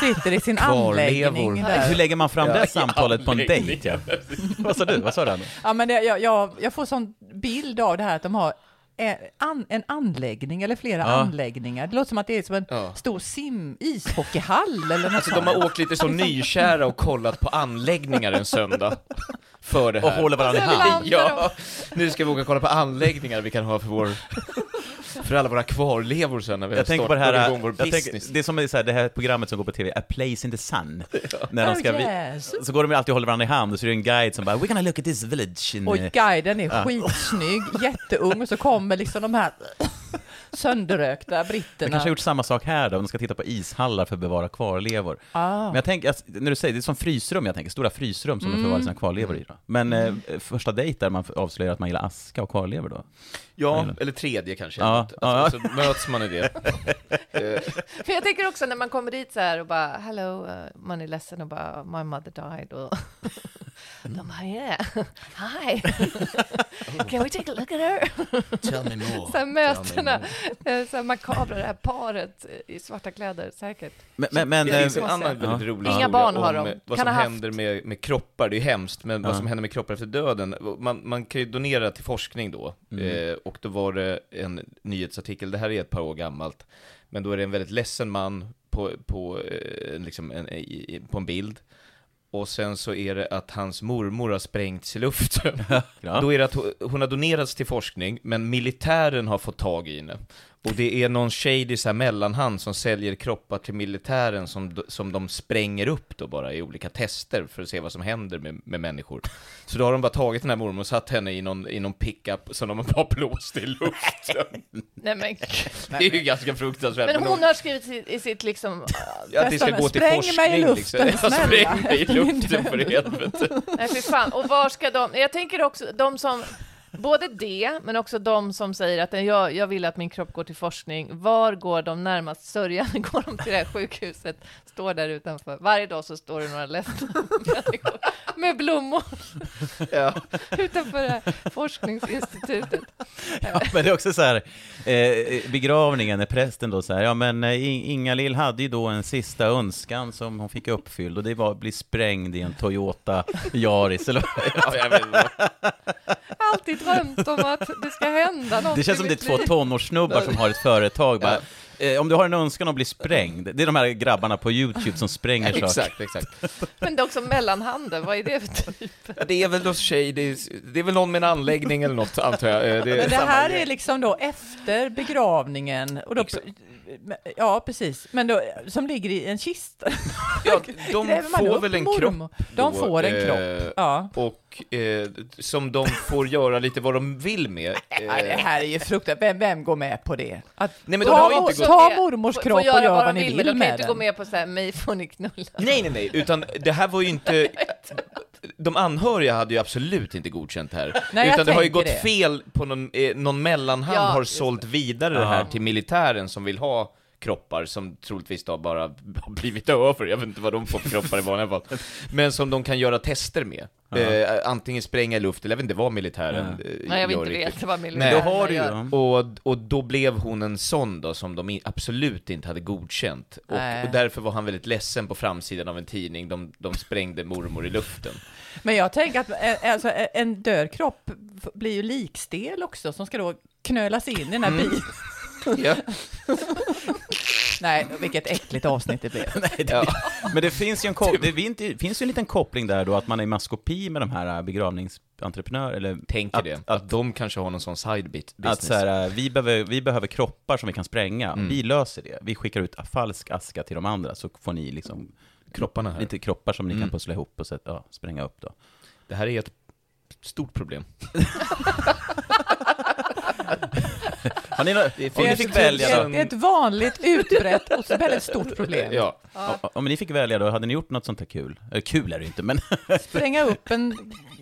Speaker 3: Sitter i sin
Speaker 2: Kvarlevor.
Speaker 3: anläggning
Speaker 1: Hur
Speaker 3: där.
Speaker 1: lägger man fram det samtalet på en
Speaker 2: nej,
Speaker 1: dejt? Ja. vad sa du? Vad sa du? Anna?
Speaker 3: Ja, men det, jag, jag, jag får sån bild av det här att de har eh, an, en anläggning eller flera anläggningar. Det låter som att det är som en
Speaker 2: Ja.
Speaker 3: stor sim ishockeyhall eller något
Speaker 2: Så Alltså, de har åkt lite så nykära och kollat på anläggningar en söndag. För det här.
Speaker 1: Och håller varandra i
Speaker 5: Och sen Alltså, vill
Speaker 1: hand.
Speaker 5: han-
Speaker 2: Ja, nu ska vi åka och kolla på anläggningar vi kan ha för vår... För alla våra kvarlevor sen när vi
Speaker 1: Jag
Speaker 2: har
Speaker 1: tänker på det
Speaker 2: startat
Speaker 1: här,
Speaker 2: igång vår
Speaker 1: jag
Speaker 2: business.
Speaker 1: tänker, det är som i så här, det här programmet som går på TV, A Place in the Sun. När de ska,
Speaker 3: Oh,
Speaker 1: vi-
Speaker 3: yes.
Speaker 1: Så går de ju alltid och håller varandra i hand och så är det en guide som bara We're gonna look at this
Speaker 2: Mm.
Speaker 1: village in...
Speaker 3: Och
Speaker 1: eh,
Speaker 3: guiden är skitsnygg, jätteung och så kommer liksom de här sönderrökta
Speaker 1: De
Speaker 3: britterna.
Speaker 1: kanske har gjort samma sak här då, om de ska titta på ishallar för att bevara kvarlevor.
Speaker 3: ah.
Speaker 1: Men jag tänker, alltså, när du säger, det är som frysrum jag tänker, stora frysrum som de förvarar sina kvarlevor i då. Men eh, första dejt där man avslöjar att man gillar aska och kvarlevor då?
Speaker 2: Ja, eller tredje kanske.
Speaker 1: Ja,
Speaker 2: Att-
Speaker 1: ja, ja.
Speaker 2: att- Så möts man i det.
Speaker 5: För jag tänker också när man kommer dit så här och bara hello, eh, man är ledsen och bara my mother died och de bara yeah, hi, can we take a look at her?
Speaker 2: Tell me more.
Speaker 5: Så här mötena, eh, så här makabra, det här paret eh, i svarta kläder säkert.
Speaker 1: Men, men, men
Speaker 2: Det finns en
Speaker 1: eh,
Speaker 2: annan väldigt
Speaker 5: Inga
Speaker 2: rolig historia
Speaker 5: barn har
Speaker 2: om
Speaker 5: de.
Speaker 2: vad
Speaker 5: Kan
Speaker 2: som
Speaker 5: ha
Speaker 2: händer med, med kroppar, det är ju hemskt, men vad som händer med kroppar efter döden. Man, man kan ju donera till forskning då, eh, och då var det en nyhetsartikel, det här är ett par år gammalt, men då är det en väldigt ledsen man på, på, eh, liksom en, i- i- på en bild, och sen så är det att hans mormor har sprängts i luften.
Speaker 1: Ja.
Speaker 2: Då är det att hon- hon har donerats till forskning, men militären har fått tag i henne. Och det är någon shady så här mellanhand som säljer kroppar till militären som, d- som de spränger upp då bara i olika tester för att se vad som händer med, med människor. Så då har de bara tagit den här mormor och satt henne i någon, i någon pickup som de har bara blåst i luften.
Speaker 5: Nej, men,
Speaker 2: Det är ju ganska fruktansvärt.
Speaker 5: men hon
Speaker 2: de-
Speaker 5: har skrivit i, i sitt liksom, eh,
Speaker 2: att det ska gå till
Speaker 3: Spräng mig i
Speaker 2: forskning
Speaker 3: luften,
Speaker 2: liksom. Ja,
Speaker 3: snälla.
Speaker 2: Spräng mig i luften för helvete.
Speaker 5: nej fy fan, och var ska de, jag tänker också de som Både det, men också de som säger att jag, jag vill att min kropp går till forskning. Var går de närmast sörjande? Går de till det här sjukhuset? Står där utanför. Varje dag så står det några ledsna människor med blommor
Speaker 2: Ja.
Speaker 5: utanför det här forskningsinstitutet.
Speaker 1: ja, men det är också så här, eh, begravningen när prästen då så här, ja men eh, I- Inga-Lill hade ju då en sista önskan som hon fick uppfylld och det var att bli sprängd i en Toyota Yaris eller
Speaker 2: Ja, jag vet inte.
Speaker 5: alltid drömt om att det ska hända något
Speaker 1: Det
Speaker 5: i
Speaker 1: känns som det är
Speaker 5: mitt
Speaker 1: två
Speaker 5: liv.
Speaker 1: tonårssnubbar som har ett företag bara, eh, om du har en önskan att bli sprängd, det är de här grabbarna på YouTube som spränger saker.
Speaker 2: Exakt, exakt.
Speaker 5: Men det är också mellanhanden, vad är det för typ?
Speaker 2: Ja, det är väl då tjej, det är, det är väl någon med en anläggning eller något antar jag. Eh, Det är
Speaker 3: Men det
Speaker 2: samma
Speaker 3: här
Speaker 2: grej. Liksom.
Speaker 3: är liksom då efter begravningen. Och då, ja, precis. Men då, som ligger i en kista.
Speaker 2: ja, de
Speaker 3: Gräver man
Speaker 2: får
Speaker 3: upp
Speaker 2: väl en kropp
Speaker 3: mormor? De
Speaker 2: då,
Speaker 3: får en
Speaker 2: eh,
Speaker 3: kropp, ja.
Speaker 2: och eh, som de får göra lite vad de vill med.
Speaker 3: Nej, det
Speaker 2: Eh,
Speaker 3: här är ju fruktansvärt. Vem, vem går med på det? Att
Speaker 2: Nej, men de
Speaker 3: ta,
Speaker 2: har ju inte gått-
Speaker 3: ta mormors
Speaker 5: Får-
Speaker 3: kropp och
Speaker 5: får göra
Speaker 3: gör vad
Speaker 5: de
Speaker 3: ni
Speaker 5: men
Speaker 3: vill
Speaker 5: De kan
Speaker 3: med
Speaker 5: inte gå
Speaker 3: den.
Speaker 5: med på så här, mig får ni knulla.
Speaker 2: nej, nej, nej, utan det här var ju inte... De anhöriga hade ju absolut inte godkänt det här.
Speaker 3: Nej, jag
Speaker 2: utan det har ju
Speaker 3: tänker
Speaker 2: gått
Speaker 3: det.
Speaker 2: fel på någon, eh, någon mellanhand
Speaker 5: Ja,
Speaker 2: har
Speaker 5: just
Speaker 2: sålt vidare det här
Speaker 1: Ja.
Speaker 2: till militären som vill ha kroppar som troligtvis då bara har blivit över, jag vet inte vad de får för kroppar i vanliga fall, men som de kan göra tester med. Eh, antingen spränga i luft, eller jag vet inte vad militären
Speaker 1: Ja.
Speaker 2: eh,
Speaker 5: Nej, jag vill
Speaker 2: gör
Speaker 5: inte
Speaker 2: riktigt.
Speaker 5: veta vad
Speaker 2: Nej.
Speaker 1: Då
Speaker 5: miljonärer
Speaker 1: har du ju
Speaker 5: gör.
Speaker 1: dem.
Speaker 2: Och, och då blev hon en sån då som de i- absolut inte hade godkänt. Och,
Speaker 3: Nej.
Speaker 2: och därför var han väldigt ledsen på framsidan av en tidning, de, de sprängde mormor i luften.
Speaker 3: Men jag tänker att eh, alltså, eh, en död kropp f- blir ju likstel också som ska då knölas in i den här
Speaker 1: Mm.
Speaker 3: bilen.
Speaker 2: Ja.
Speaker 3: Nej, vilket äckligt avsnitt det blev.
Speaker 1: Nej, det, Men det finns ju en,
Speaker 2: Typ.
Speaker 1: kop- det fin- det finns ju en liten koppling där då, att man är i maskopi med de här äh, begravningsentreprenörer, eller
Speaker 2: Tänker
Speaker 1: att,
Speaker 2: det.
Speaker 1: Att,
Speaker 2: Att de kanske har någon sån side bit business.
Speaker 1: att så här, äh, vi, behöver, vi behöver kroppar som vi kan spränga,
Speaker 2: Mm.
Speaker 1: vi löser det. Vi skickar ut falsk aska till de andra, så får ni liksom
Speaker 2: Kropparna här.
Speaker 1: lite kroppar som ni
Speaker 2: Mm.
Speaker 1: kan pussla ihop och så, ja, spränga upp då.
Speaker 2: Det här är ett stort problem.
Speaker 1: Har ni, nå- om, ni
Speaker 2: finns
Speaker 1: fick
Speaker 2: tusen-
Speaker 1: välja då,
Speaker 3: Det är ett vanligt, utbrett och så väldigt stort problem.
Speaker 2: Ja.
Speaker 1: om- om ni fick välja då, hade ni gjort något sånt här kul? Eller kul är det ju inte, men...
Speaker 3: Spränga upp en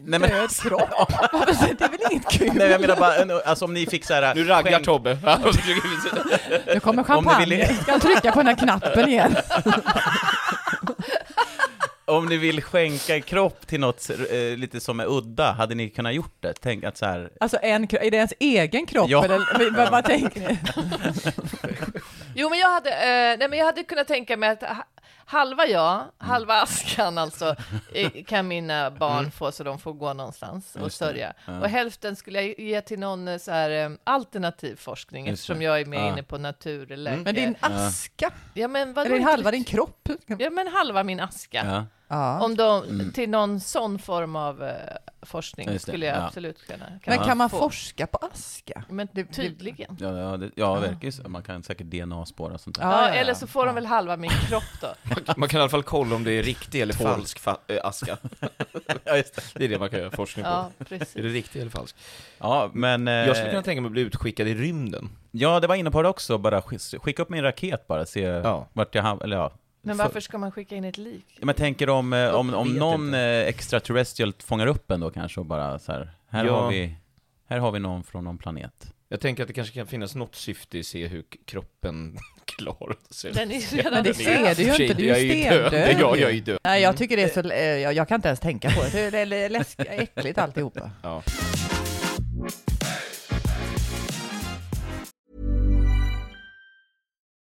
Speaker 1: Nej, men-
Speaker 3: död kropp. Varför- det är väl inget kul?
Speaker 1: Nej, jag menar bara, alltså om ni fick så här...
Speaker 2: Nu raggar
Speaker 1: skänk-
Speaker 2: Tobbe.
Speaker 3: Nu kommer
Speaker 1: Om ni
Speaker 3: champagne.
Speaker 1: vill-
Speaker 3: Ska han trycka på den här knappen igen?
Speaker 1: Om ni vill skänka kropp till något eh, lite som är udda, hade ni kunnat gjort det? Tänk att så här,
Speaker 3: Alltså, en, kro- är det ens egen kropp?
Speaker 1: Ja.
Speaker 3: Eller, vad, vad tänker ni?
Speaker 5: Jo, men jag hade, eh, nej, men jag hade kunnat tänka mig att ha- halva jag, halva askan alltså, eh, kan mina barn få så de får gå någonstans och sörja. Och hälften skulle jag ge till någon eh, så här, eh, alternativ forskning,
Speaker 1: Just
Speaker 5: eftersom
Speaker 1: det.
Speaker 5: jag är mer
Speaker 1: Ah.
Speaker 5: inne på naturläkare.
Speaker 3: Mm. Men din aska?
Speaker 5: Mm. Ja, men vadå
Speaker 3: Eller
Speaker 5: inte
Speaker 3: halva
Speaker 5: riktigt?
Speaker 3: din kropp?
Speaker 5: Ja, men halva min aska.
Speaker 1: ja.
Speaker 3: Ja.
Speaker 5: Om de, Till någon sån form av eh, forskning
Speaker 1: Just det,
Speaker 5: skulle jag
Speaker 1: ja.
Speaker 5: absolut kunna... kan
Speaker 3: Men
Speaker 5: man
Speaker 3: kan man
Speaker 5: få.
Speaker 3: forska på aska?
Speaker 5: Men
Speaker 3: Det-
Speaker 5: tydligen.
Speaker 1: Ja, ja, det, ja, verkar ju så. Man kan säkert DNA-spåra och sånt där.
Speaker 5: Ja, eller så får de väl halva min kropp då.
Speaker 2: Man kan i alla fall kolla om det är riktig eller
Speaker 1: Tolv.
Speaker 2: falsk fa- eh, aska.
Speaker 1: Ja, just det.
Speaker 2: Det är det man kan göra forskning på.
Speaker 5: Ja,
Speaker 2: Är det
Speaker 5: precis.
Speaker 2: riktig eller falsk?
Speaker 1: Ja, men... eh,
Speaker 2: Jag skulle kunna tänka mig att bli utskickad i rymden.
Speaker 1: Ja, det var inne på det också. Bara sk- skicka upp min raket bara, se vart jag hamnar, eller ja.
Speaker 5: Men varför ska man skicka in ett lik?
Speaker 1: Men tänker om, eh, om, om
Speaker 2: vet
Speaker 1: någon
Speaker 2: inte.
Speaker 1: eh, extraterrestrial fångar upp en då kanske och bara så här, här
Speaker 2: Ja.
Speaker 1: har vi, här har vi någon från någon planet.
Speaker 2: Jag tänker att det kanske kan finnas något syfte i att se hur k- kroppen klarar sig.
Speaker 5: Den är ju redan
Speaker 3: Men det
Speaker 5: död.
Speaker 3: ser du ju inte, du är
Speaker 2: Jag
Speaker 3: ju
Speaker 2: död.
Speaker 3: stendöd.
Speaker 2: Ja, jag är ju död.
Speaker 3: Nej, jag tycker det är så... eh, Jag, jag kan inte ens tänka på det. Det är lä- läsk, äckligt alltihopa.
Speaker 2: Ja.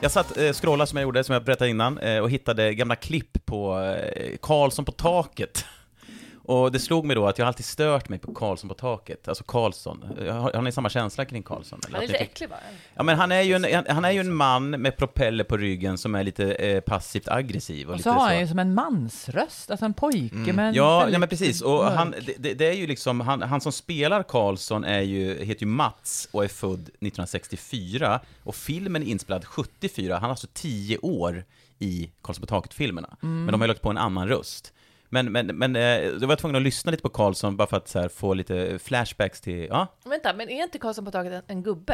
Speaker 1: Jag satt eh, scrollade som jag gjorde, som jag berättade innan, eh, och hittade gamla klipp på eh, Karlsson på taket. Och det slog mig då att jag alltid stört mig på Karlsson på taket, alltså Karlsson. Eh, Har, har ni samma känsla kring Karlsson? Eller
Speaker 5: Han är
Speaker 1: att
Speaker 5: lite
Speaker 1: ni tyck-
Speaker 5: äcklig va?
Speaker 1: Ja, men han är ju en, han, han är ju en man med propeller på ryggen som är lite eh, passivt aggressiv. Och,
Speaker 3: Och
Speaker 1: lite
Speaker 3: så har han ju som en mansröst, alltså en pojke med en
Speaker 1: Ja,
Speaker 3: väldigt
Speaker 1: ja men precis. Och
Speaker 3: mörk-
Speaker 1: han, det- det, det är ju liksom, han, han som spelar Karlsson är ju, heter ju Mats och är född 1964. Och filmen är inspelad 74. Han är alltså 10 år i Karlsson på taket-filmerna.
Speaker 3: Mm.
Speaker 1: Men de har ju lagt på en annan röst. Men, men, men eh, då var jag tvungen att lyssna lite på Karlsson bara för att så här, få lite flashbacks till, ja.
Speaker 5: Vänta, men är inte Karlsson på taket en, en gubbe?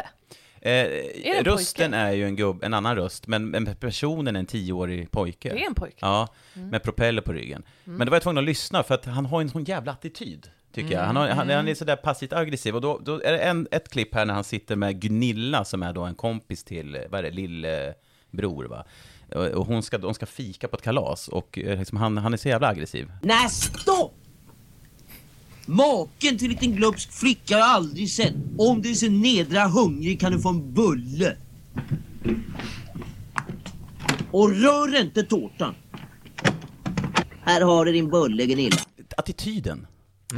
Speaker 1: Eh,
Speaker 5: det en
Speaker 1: rösten
Speaker 5: pojke?
Speaker 1: är ju en gubb, en annan röst, men, men personen är en 10-årig pojke.
Speaker 5: Det är en pojke. Mm.
Speaker 1: Ja, med propeller på ryggen. Men då var jag tvungen att lyssna för att han har en sån jävla attityd, tycker jag. Han, har, han, han är sådär passivt aggressiv. Och då, då är det en, ett klipp här när han sitter med Gunilla som är då en kompis till, eh, vad är det, lillebror va? Och och hon ska, de ska fika på ett kalas och eh, liksom, han, han är så jävla aggressiv.
Speaker 7: Nej, stopp! Maken till liten glupsk flicka har jag aldrig sett. Om du är så nedra hungrig kan du få en bulle. Och rör inte tårtan. Här har du din bulle, Gunilla.
Speaker 1: Attityden.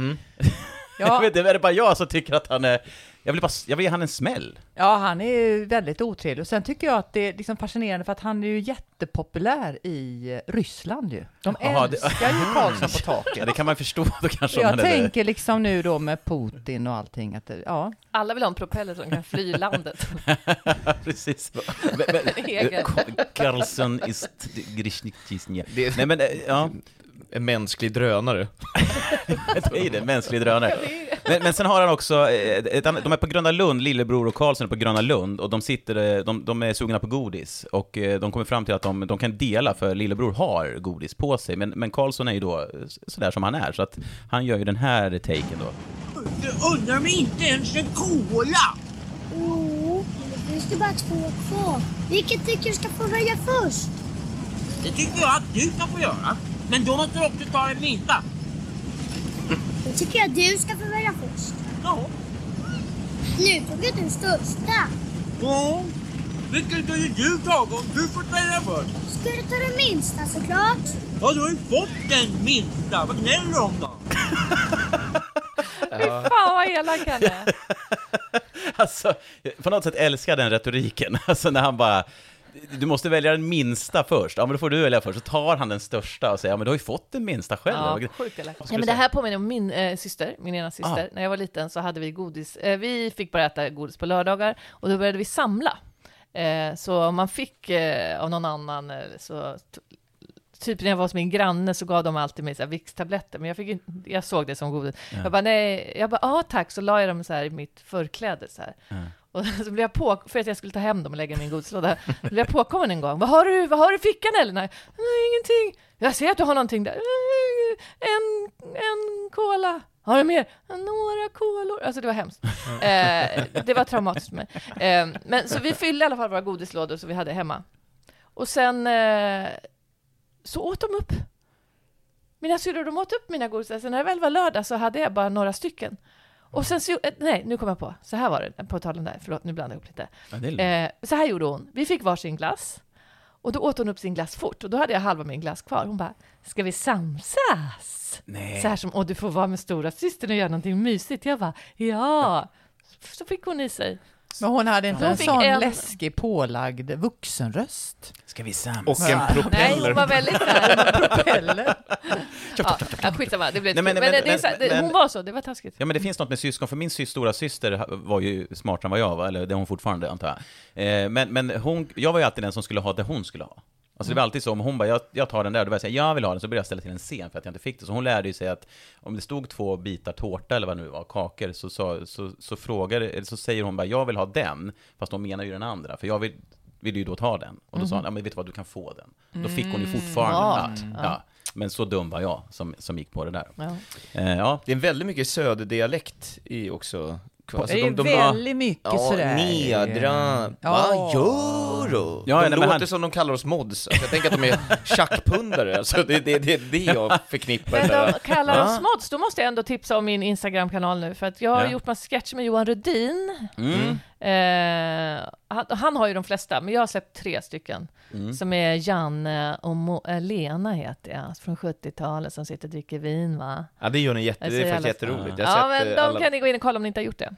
Speaker 1: Jag
Speaker 3: ja,
Speaker 1: vet inte, är det bara jag som tycker att han är... Jag vill bara, jag vill ge han en smäll.
Speaker 3: ja, han är ju väldigt otrevlig. Och sen tycker jag att det är liksom fascinerande för att han är ju jättepopulär i Ryssland ju. De
Speaker 1: Jaha, det-
Speaker 3: älskar ju Karlsson på taket.
Speaker 1: Ja, det kan man förstå då kanske. om
Speaker 3: Jag
Speaker 1: han är det.
Speaker 3: tänker liksom nu då med Putin och allting att det- ja,
Speaker 5: Alla vill ha en propeller som kan fly landet.
Speaker 1: Precis. Men- men-
Speaker 5: Egen.
Speaker 1: K- Karlsson is t- Grishnik Kisnia.
Speaker 2: Det-
Speaker 1: Nej men, eh, ja,
Speaker 2: En mänsklig drönare.
Speaker 1: det är ju det, mänsklig drönare. Men, men sen har han också, eh, ett annat, de är på Gröna Lund, Lillebror och Karlsson är på Gröna Lund, och de sitter, eh, de, de är sugna på godis, och eh, de kommer fram till att de, de kan dela, för Lillebror har godis på sig, men, men Karlsson är ju då eh, sådär som han är, så att han gör ju den här taken då.
Speaker 7: Du undrar mig inte ens en cola!
Speaker 8: Jo, det ska bara två kvar. Vilket tycker du ska få välja först?
Speaker 7: Det tycker jag att du ska få göra. Men då måste du också ta den minsta.
Speaker 8: Då tycker jag du ska få välja först.
Speaker 7: Ja.
Speaker 8: Nu tog jag den största.
Speaker 7: Ja.
Speaker 9: Vilken kan ju du taga om du får välja för?
Speaker 10: Ska du ta den minsta såklart?
Speaker 9: Ja, du har ju fått den minsta. Vad gnäller du om då?
Speaker 5: Fy fan vad elak han är.
Speaker 1: Alltså, jag- på något sätt älskar jag den retoriken. Alltså när han bara, du måste välja den minsta först. Ja, men då får du välja först. Så tar han den största och säger, ja, men du har ju fått den minsta själv.
Speaker 5: Ja,
Speaker 1: Vad-
Speaker 5: sjukt elak.
Speaker 1: Vad ska
Speaker 5: Ja, men
Speaker 1: du
Speaker 5: det
Speaker 1: säga?
Speaker 5: här påminner om min eh, syster, min ena syster.
Speaker 1: Ah.
Speaker 5: När jag var liten så hade vi godis. Eh, vi fick bara äta godis på lördagar och då började vi samla. Eh, så om man fick eh, av någon annan eh, så t- Typ när jag var hos min granne så gav de alltid mig så här vickstabletter, men jag, fick inte, jag såg det som godis.
Speaker 11: Ja.
Speaker 5: Jag bara nej, jag bara ja tack, så la jag dem så här i mitt förkläde så här.
Speaker 11: Ja.
Speaker 5: Och så blev jag på, för att jag skulle ta hem dem och lägga i min godislåda, Då blev jag påkommen en gång. Vad har du, vad har du i fickan eller? Nej, nej, ingenting. Jag ser att du har någonting där. Eh, En, en cola. Har du mer? Några kolor. Alltså det var hemskt. Eh, det var traumatiskt för mig. Eh, men så vi fyllde i alla fall våra godislådor som vi hade hemma. Och sen eh, så åt de upp. Mina syrror, de åt upp mina godisar. Sen när det väl var lördag så hade jag bara några stycken. Och sen så, eh, nej, nu kom jag på. Så här var det, på tal om det här. Förlåt, nu blandade jag ihop lite.
Speaker 1: Ja, det är lugnt.
Speaker 5: Eh, så här gjorde hon. Vi fick varsin glass. Och då åt hon upp sin glass fort. Och då hade jag halva min glass kvar. Hon bara, ska vi samsas?
Speaker 1: Nej.
Speaker 5: Så här som, åh, du får vara med stora systern och göra någonting mysigt. Jag bara, ja. Så fick hon i sig.
Speaker 3: Men hon hade inte
Speaker 5: Hon
Speaker 3: en
Speaker 5: fick
Speaker 3: sån
Speaker 5: en-
Speaker 3: läskig pålagd vuxenröst.
Speaker 1: Ska vi samsas?
Speaker 3: Och en propeller.
Speaker 5: Nej, hon var väldigt såhär... propeller. ja, ja, skitsamma, det blev
Speaker 1: Nej,
Speaker 5: men,
Speaker 1: men-
Speaker 5: men,
Speaker 1: men-
Speaker 5: det är så här,
Speaker 1: men-
Speaker 5: det, Hon var så, det var taskigt.
Speaker 1: Ja men det finns något med syskon, för min sys, stora syster var ju smartare än vad jag var, eller det är hon fortfarande antar jag. Eh, Men, men hon, jag var ju alltid den som skulle ha det hon skulle ha. Alltså det
Speaker 5: Mm.
Speaker 1: var alltid så, om hon bara, jag, jag tar den där, då började jag säga jag vill ha den, så började jag ställa till en scen för att jag inte fick det. Så hon lärde ju sig att om det stod två bitar tårta eller vad det nu var, kakor, så, så, så, så, frågar, eller så säger hon bara jag vill ha den, fast hon menar ju den andra, för jag vill, vill ju då ta den. Och då sa hon,
Speaker 5: Mhm.
Speaker 1: ja men vet du vad, du kan få den. Då fick hon ju
Speaker 5: Mm,
Speaker 1: fortfarande
Speaker 5: smart.
Speaker 1: allt.
Speaker 5: Ja. Mm.
Speaker 1: Ja. Men så dum var jag som, som gick på det där.
Speaker 5: Ja.
Speaker 1: Eh, ja.
Speaker 2: Det är väldigt mycket söderdialekt i också. Alltså,
Speaker 1: Alltså,
Speaker 3: Det är väldigt mycket sådär.
Speaker 2: Nedra,
Speaker 3: Ja.
Speaker 2: vad gör du?
Speaker 1: Ja,
Speaker 2: de
Speaker 1: nej, men
Speaker 2: låter
Speaker 1: han-
Speaker 2: som de kallar oss mods. Alltså, jag tänker att de är tjackpundare, alltså, det är det, det, är det jag förknippar
Speaker 5: Men
Speaker 2: med-
Speaker 5: de kallar
Speaker 2: Ja.
Speaker 5: oss mods, då måste jag ändå tipsa om min Instagram-kanal nu, för att jag har
Speaker 2: Ja.
Speaker 5: gjort massa sketcher med Johan Rudin.
Speaker 1: Mm.
Speaker 5: Eh, han, han har ju de flesta, men jag har släppt tre stycken.
Speaker 1: Mm.
Speaker 5: Som är Janne och Mo- eh, Lena heter jag, från 70-talet, som sitter och dricker vin va?
Speaker 2: Ja, det gör ni jätte,
Speaker 5: Alltså,
Speaker 2: det är
Speaker 5: jävla-
Speaker 2: faktiskt jätteroligt. Jag har
Speaker 5: Ja,
Speaker 2: sett,
Speaker 5: men de
Speaker 2: eh, alla-
Speaker 5: kan ni gå in och kolla om ni inte har gjort det.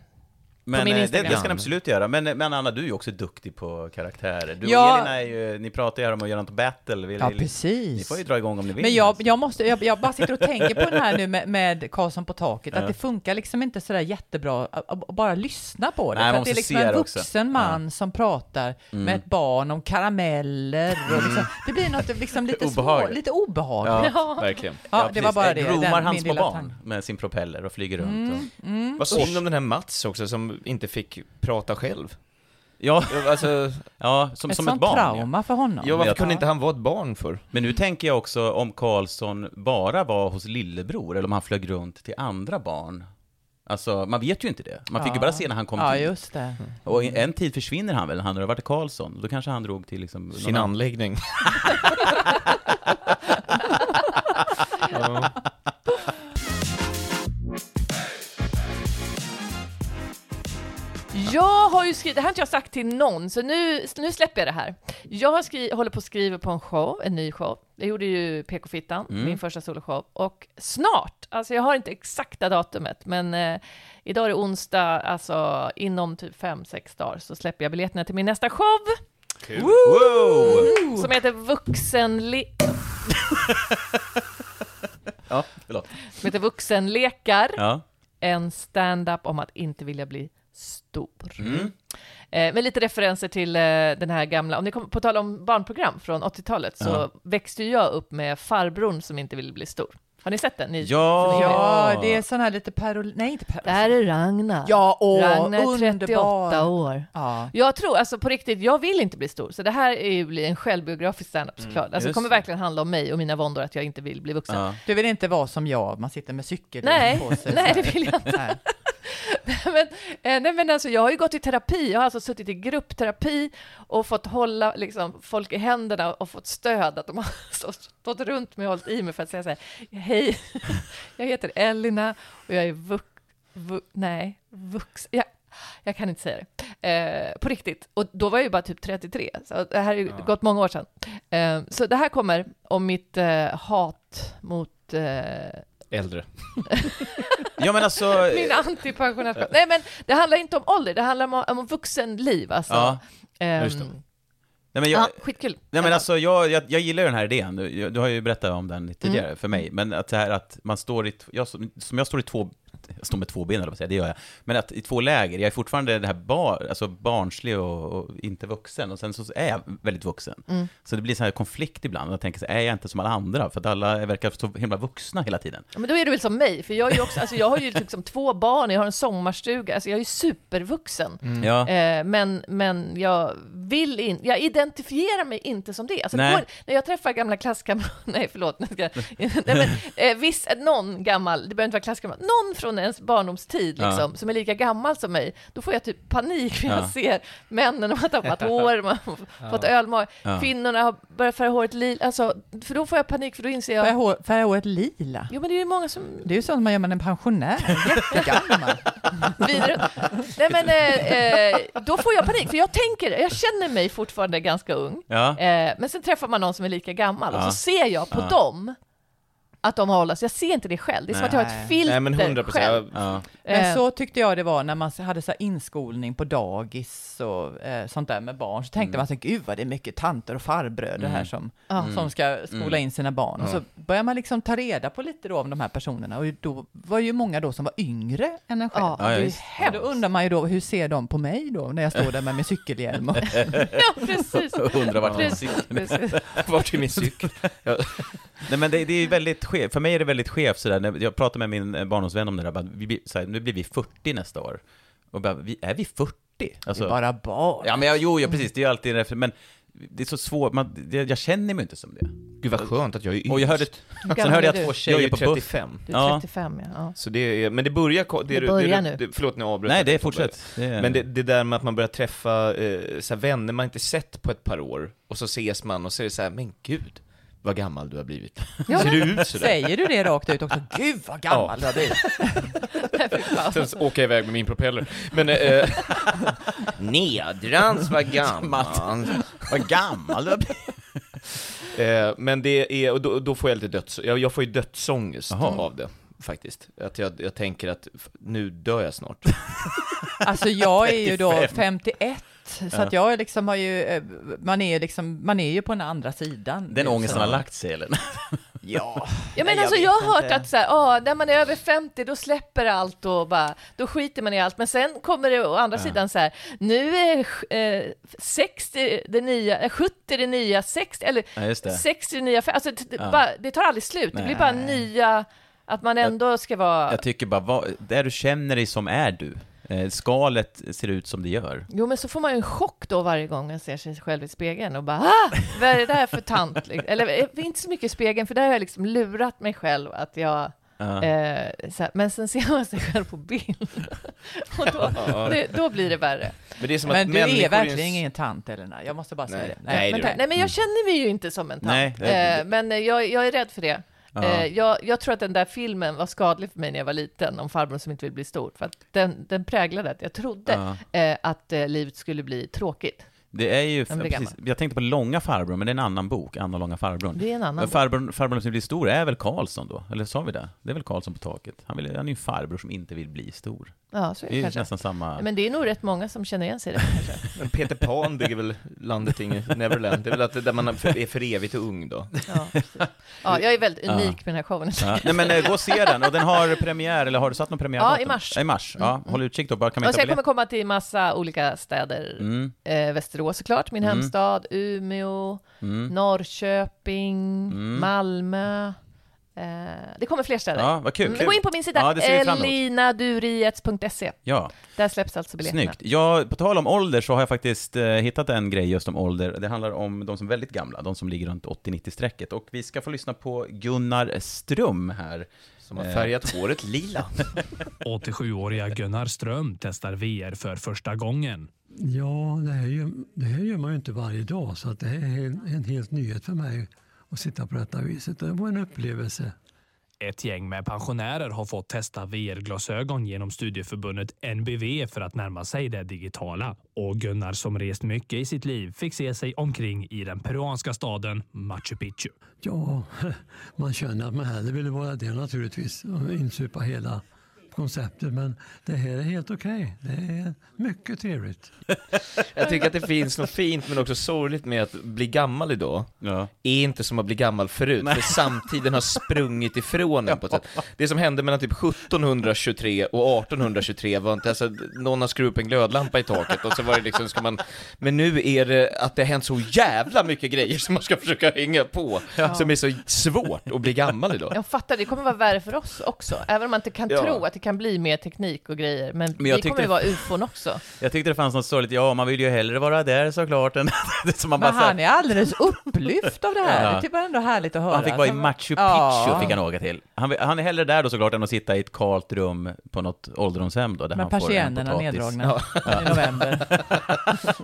Speaker 1: Men
Speaker 5: min
Speaker 1: eh, det,
Speaker 5: Instagram.
Speaker 1: det ska ni absolut göra. Men, men Anna, du är ju också duktig på karaktärer. Du
Speaker 3: Ja.
Speaker 1: och Elina är ju, ni pratar ju här om att göra något battle. Vill,
Speaker 3: Ja,
Speaker 1: vill-
Speaker 3: precis.
Speaker 1: Ni får ju dra igång om ni vill.
Speaker 3: Men jag, jag, måste, jag, jag bara sitter och tänker på den här nu med, med Karlsson på taket,
Speaker 1: Ja.
Speaker 3: att det funkar liksom inte sådär jättebra att att bara lyssna på det.
Speaker 1: Nej, man
Speaker 3: för att det
Speaker 1: måste
Speaker 3: är liksom
Speaker 1: se
Speaker 3: en
Speaker 1: det också.
Speaker 3: vuxen man som pratar
Speaker 1: Mm.
Speaker 3: med ett barn om karameller och liksom, det blir något liksom lite, små,
Speaker 1: Obehagligt.
Speaker 3: lite obehagligt.
Speaker 1: verkligen.
Speaker 3: Ja, det
Speaker 1: precis.
Speaker 3: var bara det.
Speaker 1: Groomar
Speaker 3: den-
Speaker 1: han
Speaker 3: min
Speaker 1: små
Speaker 3: lilla
Speaker 1: barn
Speaker 3: tanke.
Speaker 1: med sin propeller och flyger runt?
Speaker 3: Mm,
Speaker 1: Och...
Speaker 3: mm.
Speaker 2: Vad synd om den här Mats också, som inte fick prata själv.
Speaker 1: Ja,
Speaker 2: alltså,
Speaker 1: ja som,
Speaker 3: Ett
Speaker 1: som
Speaker 3: sånt
Speaker 1: ett barn.
Speaker 3: trauma för honom.
Speaker 2: Ja, varför
Speaker 1: Jag-
Speaker 2: kunde inte han vara ett barn för?
Speaker 1: Men nu tänker jag också om Karlsson bara var hos lillebror eller om han flög runt till andra barn. Alltså, man vet ju inte det. Man fick ju
Speaker 3: Ja.
Speaker 1: bara se när han kom
Speaker 3: Ja,
Speaker 1: till.
Speaker 3: just det.
Speaker 1: Och i- en tid försvinner han väl, han har varit i Karlsson. Då kanske han drog till liksom... någon
Speaker 2: Sin
Speaker 1: annan-
Speaker 2: anläggning.
Speaker 1: Ja.
Speaker 5: Jag har ju skrivit, det här har inte jag sagt till någon, så nu, nu släpper jag det här. Jag har skri, håller på att skriva på en show, en ny show. Jag gjorde ju PK-fittan,
Speaker 11: Mm.
Speaker 5: min första soloshow. Och snart, alltså jag har inte exakta datumet, men eh, idag är det onsdag, alltså inom typ fem sex dagar så släpper jag biljetterna till min nästa show.
Speaker 1: Kul. Woo!
Speaker 5: Som heter Vuxenle...
Speaker 1: ja, förlåt.
Speaker 5: Som heter Vuxenlekar.
Speaker 1: Ja.
Speaker 5: En stand-up om att inte vilja bli stor.
Speaker 1: Mm.
Speaker 5: Eh, med lite referenser till eh, den här gamla, om ni kommer på tal om barnprogram från 80-talet, så
Speaker 1: Ja.
Speaker 5: växte ju jag upp med farbrorn som inte ville bli stor. Har ni sett den? Ni,
Speaker 1: Ja.
Speaker 3: Ja, det är sån här lite parol... Nej, inte parol...
Speaker 5: Det här är Ragnar.
Speaker 3: Ja, åh,
Speaker 5: Ragnar är 38
Speaker 3: underbar.
Speaker 5: år.
Speaker 3: Ja.
Speaker 5: Jag tror, alltså på riktigt, jag vill inte bli stor, så det här är ju bli en självbiografisk standup
Speaker 1: Mm,
Speaker 5: såklart. alltså det
Speaker 3: just
Speaker 5: kommer
Speaker 3: det.
Speaker 5: verkligen handla om mig och mina våndor att jag inte vill bli vuxen.
Speaker 3: Du vill inte vara som jag, man sitter med cykel
Speaker 5: Nej,
Speaker 3: på sig.
Speaker 5: nej, det vill jag inte.
Speaker 3: Nej.
Speaker 5: men, eh, nej men alltså jag har ju gått i terapi, jag har alltså suttit i gruppterapi och fått hålla liksom, folk i händerna och fått stöd, att de har stå- stått runt mig och hållit i mig för att säga så här, hej, jag heter Elina och jag är vux, vu, nej, vux, jag, jag kan inte säga det. Eh, på riktigt. Och då var jag ju bara typ 33, så det här är ju gått många år sedan. Eh, så det här kommer om mitt eh, hat mot eh,
Speaker 2: Äldre.
Speaker 1: Ja men alltså...
Speaker 5: min antipensionärskap. Nej men det handlar inte om ålder, det handlar om, om vuxenliv alltså.
Speaker 1: Ja,
Speaker 5: Ehm,
Speaker 1: just det. Nej men jag,
Speaker 5: ja, skitkul.
Speaker 1: Nej men alltså, jag, jag, jag gillar ju den här idén, du, du har ju berättat om den lite tidigare
Speaker 5: Mm.
Speaker 1: för mig, men att det här att man står i, t- jag, som som jag står i två, jag står med två ben eller vad säger jag, det gör jag, men att i två läger, jag är fortfarande det här bar, alltså barnslig och, och inte vuxen, och sen så är jag väldigt vuxen.
Speaker 5: Mm.
Speaker 1: Så det blir så här konflikt ibland, jag tänker så här, är jag inte som alla andra? För att alla verkar så himla vuxna hela tiden.
Speaker 5: Ja, Men då är du väl som mig, för jag, är ju också, alltså jag har ju liksom två barn, jag har en sommarstuga, alltså jag är ju supervuxen.
Speaker 1: Mm. Ja.
Speaker 5: Eh, men, men jag vill in, jag identifierar mig inte som det. Alltså, det
Speaker 1: Nej.
Speaker 5: går, när jag träffar gamla klasskamrater, nej förlåt, nu ska jag- nej, men, eh, viss, någon gammal, det behöver inte vara klasskamrat, någon från ens barndomstid
Speaker 1: Ja.
Speaker 5: liksom, som är lika gammal som mig, då får jag typ panik för jag
Speaker 1: Ja.
Speaker 5: ser männen, de har tappat hår, man har
Speaker 3: Ja.
Speaker 5: fått ölmage,
Speaker 3: Ja.
Speaker 5: kvinnorna har börjat färga håret lila, alltså, för då får jag panik, för då inser jag...
Speaker 3: Färga hår- Färga håret lila.
Speaker 5: Jo, men det är ju många som
Speaker 3: Det är ju sånt man gör med en pensionär.
Speaker 5: Vidare. Nej men, eh, eh, då får jag panik, för jag tänker, jag känner mig fortfarande ganska ung,
Speaker 1: Ja.
Speaker 5: eh, men sen träffar man någon som är lika gammal, och
Speaker 2: Ja.
Speaker 5: så ser jag på
Speaker 2: Ja.
Speaker 5: dem att de har åldrats, jag ser inte det själv, det är som att jag har ett filter
Speaker 2: Nej, men 100
Speaker 5: själv. Eh,
Speaker 2: procent. Ja.
Speaker 3: Men så tyckte jag det var när man hade så här inskolning på dagis och eh, sånt där med barn. Så tänkte man så här, gud vad det är mycket tanter och farbröder här
Speaker 5: Mm.
Speaker 3: som,
Speaker 5: Ja.
Speaker 3: som ska skola
Speaker 5: Mm.
Speaker 3: in sina barn. Och
Speaker 5: Ja.
Speaker 3: så börjar man liksom ta reda på lite då om de här personerna. Och då var ju många då som var yngre än en själv.
Speaker 5: Ja, det är ju Ja, visst.
Speaker 3: och då undrar man ju då, hur ser de på mig då när jag står där med min cykelhjälm? Och...
Speaker 5: Ja, precis.
Speaker 1: Undrar vart min
Speaker 5: Precis,
Speaker 1: cykel
Speaker 5: precis.
Speaker 1: är. Vart är min cykel? Nej men det, det är ju väldigt skevt, för mig är det väldigt skevt sådär, När jag pratade med min eh, barndomsvän om det där, bara, vi, blir- såhär, nu blir vi 40 nästa år. Och bara, vi, är vi 40?
Speaker 3: Vi är bara barn.
Speaker 1: Alltså. Ja men jag, jo, ja, precis, det är ju alltid en refer- men det är så svårt, man, det, jag känner mig inte som det.
Speaker 2: Gud vad skönt att jag är yngst.
Speaker 1: Och jag hörde,
Speaker 5: Hur
Speaker 1: sen
Speaker 5: gammal
Speaker 1: hörde
Speaker 5: är
Speaker 1: jag
Speaker 5: du?
Speaker 1: två
Speaker 2: Jag
Speaker 1: tjejer
Speaker 2: är
Speaker 1: på buff.
Speaker 2: 35.
Speaker 5: Du
Speaker 1: Ja.
Speaker 5: är 35 ja. ja.
Speaker 2: Så det är, men det börjar... ko-
Speaker 5: Det
Speaker 2: du-
Speaker 5: börjar
Speaker 2: du,
Speaker 5: nu.
Speaker 2: Det, förlåt nu avbröt
Speaker 1: Nej,
Speaker 2: jag,
Speaker 1: det är
Speaker 2: Tobbe.
Speaker 1: fortsätt. Det är-
Speaker 2: Men det, det där med att man börjar träffa eh, så här, vänner man inte sett på ett par år, och så ses man och så är det så här, men gud, vad gammal du har blivit. Ser du ut sådär?
Speaker 3: Säger du det rakt ut också? Gud vad gammal du har blivit.
Speaker 2: Sen så åker jag iväg med min propeller. Men... Eh, Nedrans, vad gammal.
Speaker 1: vad gammal du har blivit.
Speaker 2: Eh, men det är, och då, då får jag lite döds, jag, jag får ju dödsångest
Speaker 3: Jaha.
Speaker 2: av det, faktiskt. Att jag, jag tänker att f- nu dör jag snart.
Speaker 3: Alltså jag är ju då
Speaker 2: 35.
Speaker 3: 51, så
Speaker 2: Ja.
Speaker 3: att jag är liksom har ju, eh, man är, liksom, man är ju på den andra sidan.
Speaker 1: Den
Speaker 3: liksom. Det är
Speaker 1: ångesten
Speaker 3: så.
Speaker 1: har lagt sig eller? ja.
Speaker 5: Ja, men
Speaker 3: Nej, jag
Speaker 5: alltså,
Speaker 3: vet
Speaker 5: jag har hört
Speaker 3: inte.
Speaker 5: att så här, ah, när man är över 50 då släpper allt och bara, då skiter man i allt. Men sen kommer det å andra
Speaker 3: Ja.
Speaker 5: sidan så här, nu är eh, 60 det nya, eh, 70 det nya, 60, eller
Speaker 1: Ja, just det.
Speaker 5: 60 det nya, alltså, t-
Speaker 1: Ja.
Speaker 5: bara, det tar aldrig slut. Det
Speaker 1: Nej.
Speaker 5: blir bara nya, att man ändå ska vara...
Speaker 1: Jag tycker bara, vad, det du känner dig som är du. Eh, skalet ser ut som det gör.
Speaker 5: Jo, men så får man ju en chock då varje gång man ser sig själv i spegeln och bara ah, vad är det där för tant? Liksom. Eller eh, inte så mycket i spegeln, för där har jag liksom lurat mig själv att jag
Speaker 1: Ja.
Speaker 5: eh, så här, men sen ser man sig själv på bild. Och då,
Speaker 2: Ja.
Speaker 5: det, då blir det värre.
Speaker 2: Men det är som att
Speaker 3: Men du
Speaker 2: människor är
Speaker 3: är
Speaker 2: en-
Speaker 3: verkligen ingen tant Elina, jag måste bara säga
Speaker 2: Nej.
Speaker 3: det.
Speaker 2: Nej, det är
Speaker 3: men
Speaker 2: du
Speaker 3: tack.
Speaker 5: Nej, men jag känner mig ju inte som en tant.
Speaker 3: Nej, det-
Speaker 5: eh, men eh, jag, jag är rädd för det.
Speaker 3: Ja.
Speaker 5: Eh, jag, jag tror att den där filmen var skadlig för mig när jag var liten, om farbrorn som inte vill bli stor. För att den, den präglade att jag trodde eh, att eh, livet skulle bli tråkigt.
Speaker 1: Det är ju,
Speaker 5: Den blir
Speaker 1: precis, jag tänkte på Långa farbror, men det är en annan bok, Anna Långa farbror.
Speaker 5: Det är en annan
Speaker 1: Men farbror, farbror som blir stor är väl Karlsson då? Eller sa vi det? Det är väl Karlsson på taket? Han, vill, han är ju en farbror som inte vill bli stor.
Speaker 5: Ja, så är det,
Speaker 1: det är ju
Speaker 5: kanske.
Speaker 1: nästan samma...
Speaker 5: Men det är nog rätt många som känner igen sig i det kanske.
Speaker 2: Men Peter Pan bygger väl landet inget, Neverland. Det är väl att det är där man är för evigt och ung då.
Speaker 5: Ja, precis. ja, jag är väldigt unik med den här showen.
Speaker 1: Ja. Nej men eh, gå och se den, och den har premiär, eller har du satt någon premiärdatum?
Speaker 5: Ja, i mars.
Speaker 1: I mars, ja.
Speaker 5: Mm.
Speaker 1: Håll utkik då, bara kan
Speaker 5: Och
Speaker 1: man hitta
Speaker 5: sen kommer
Speaker 1: biljetter?
Speaker 5: komma till massa olika städer.
Speaker 1: Mm.
Speaker 5: Eh, Västerås såklart, min
Speaker 1: Mm.
Speaker 5: hemstad, Umeå,
Speaker 1: Mm.
Speaker 5: Norrköping,
Speaker 1: Mm.
Speaker 5: Malmö. Eh, det kommer fler städer.
Speaker 1: Ja, vad kul.
Speaker 5: Mm, Gå in på min
Speaker 1: Ja,
Speaker 5: sida,
Speaker 1: det ser vi fram emot.
Speaker 5: elinadurietz.se.
Speaker 1: Ja.
Speaker 5: Där släpps alltså biljetterna.
Speaker 1: Snyggt. Ja, på tal om ålder så har jag faktiskt eh, hittat en grej just om ålder. Det handlar om de som är väldigt gamla, de som ligger runt 80-90-strecket. Och vi ska få lyssna på Gunnar Ström här. Som
Speaker 2: har färgat håret lila.
Speaker 11: 87-åriga Gunnar Ström testar VR för första gången.
Speaker 12: Ja, det här, gör, det här gör man ju inte varje dag så att det här är en, en helt nyhet för mig att sitta på detta viset. Det var en upplevelse.
Speaker 11: Ett gäng med pensionärer har fått testa VR-glasögon genom studieförbundet NBV för att närma sig det digitala. Och Gunnar som rest mycket i sitt liv fick se sig omkring i den peruanska staden Machu Picchu.
Speaker 12: Ja, man känner att man hellre ville vara det naturligtvis och insupa hela konceptet. Men det här är helt okej. Det är mycket trevligt.
Speaker 2: Jag tycker att det finns något fint men också sorgligt med att bli gammal idag är inte som att bli gammal förut, för samtiden har sprungit ifrån en på ett sätt. Det som hände mellan typ 1723 och 1823 var inte, alltså någon har skruvat upp en glödlampa i taket och så var det liksom, ska man, men nu är det att det har hänt så jävla mycket grejer som man ska försöka hänga på,
Speaker 5: Ja.
Speaker 2: som är så svårt att bli gammal idag.
Speaker 5: Jag fattar, det kommer vara värre för oss också. Även om man inte kan
Speaker 1: Ja.
Speaker 5: tro att det kan bli mer teknik och grejer. Men,
Speaker 1: Men jag
Speaker 5: det kommer
Speaker 1: tyckte-
Speaker 5: ju vara ufon också.
Speaker 1: Jag tyckte det fanns något sorgligt, ja man vill ju hellre vara där såklart än... Det är som man
Speaker 3: Men
Speaker 1: bara så här-
Speaker 3: han är alldeles upplyft av det här.
Speaker 1: Ja.
Speaker 3: Det tycker jag ändå är härligt att höra. Alltså,
Speaker 1: Han fick vara i
Speaker 3: Som-
Speaker 1: Machu Picchu,
Speaker 3: Ja.
Speaker 1: fick han åka till. Han, vill- han är hellre där då såklart än att sitta i ett kalt rum på något ålderdomshem då, där
Speaker 3: Med
Speaker 1: han får en
Speaker 3: persiennerna
Speaker 1: potatis.
Speaker 3: neddragna i november.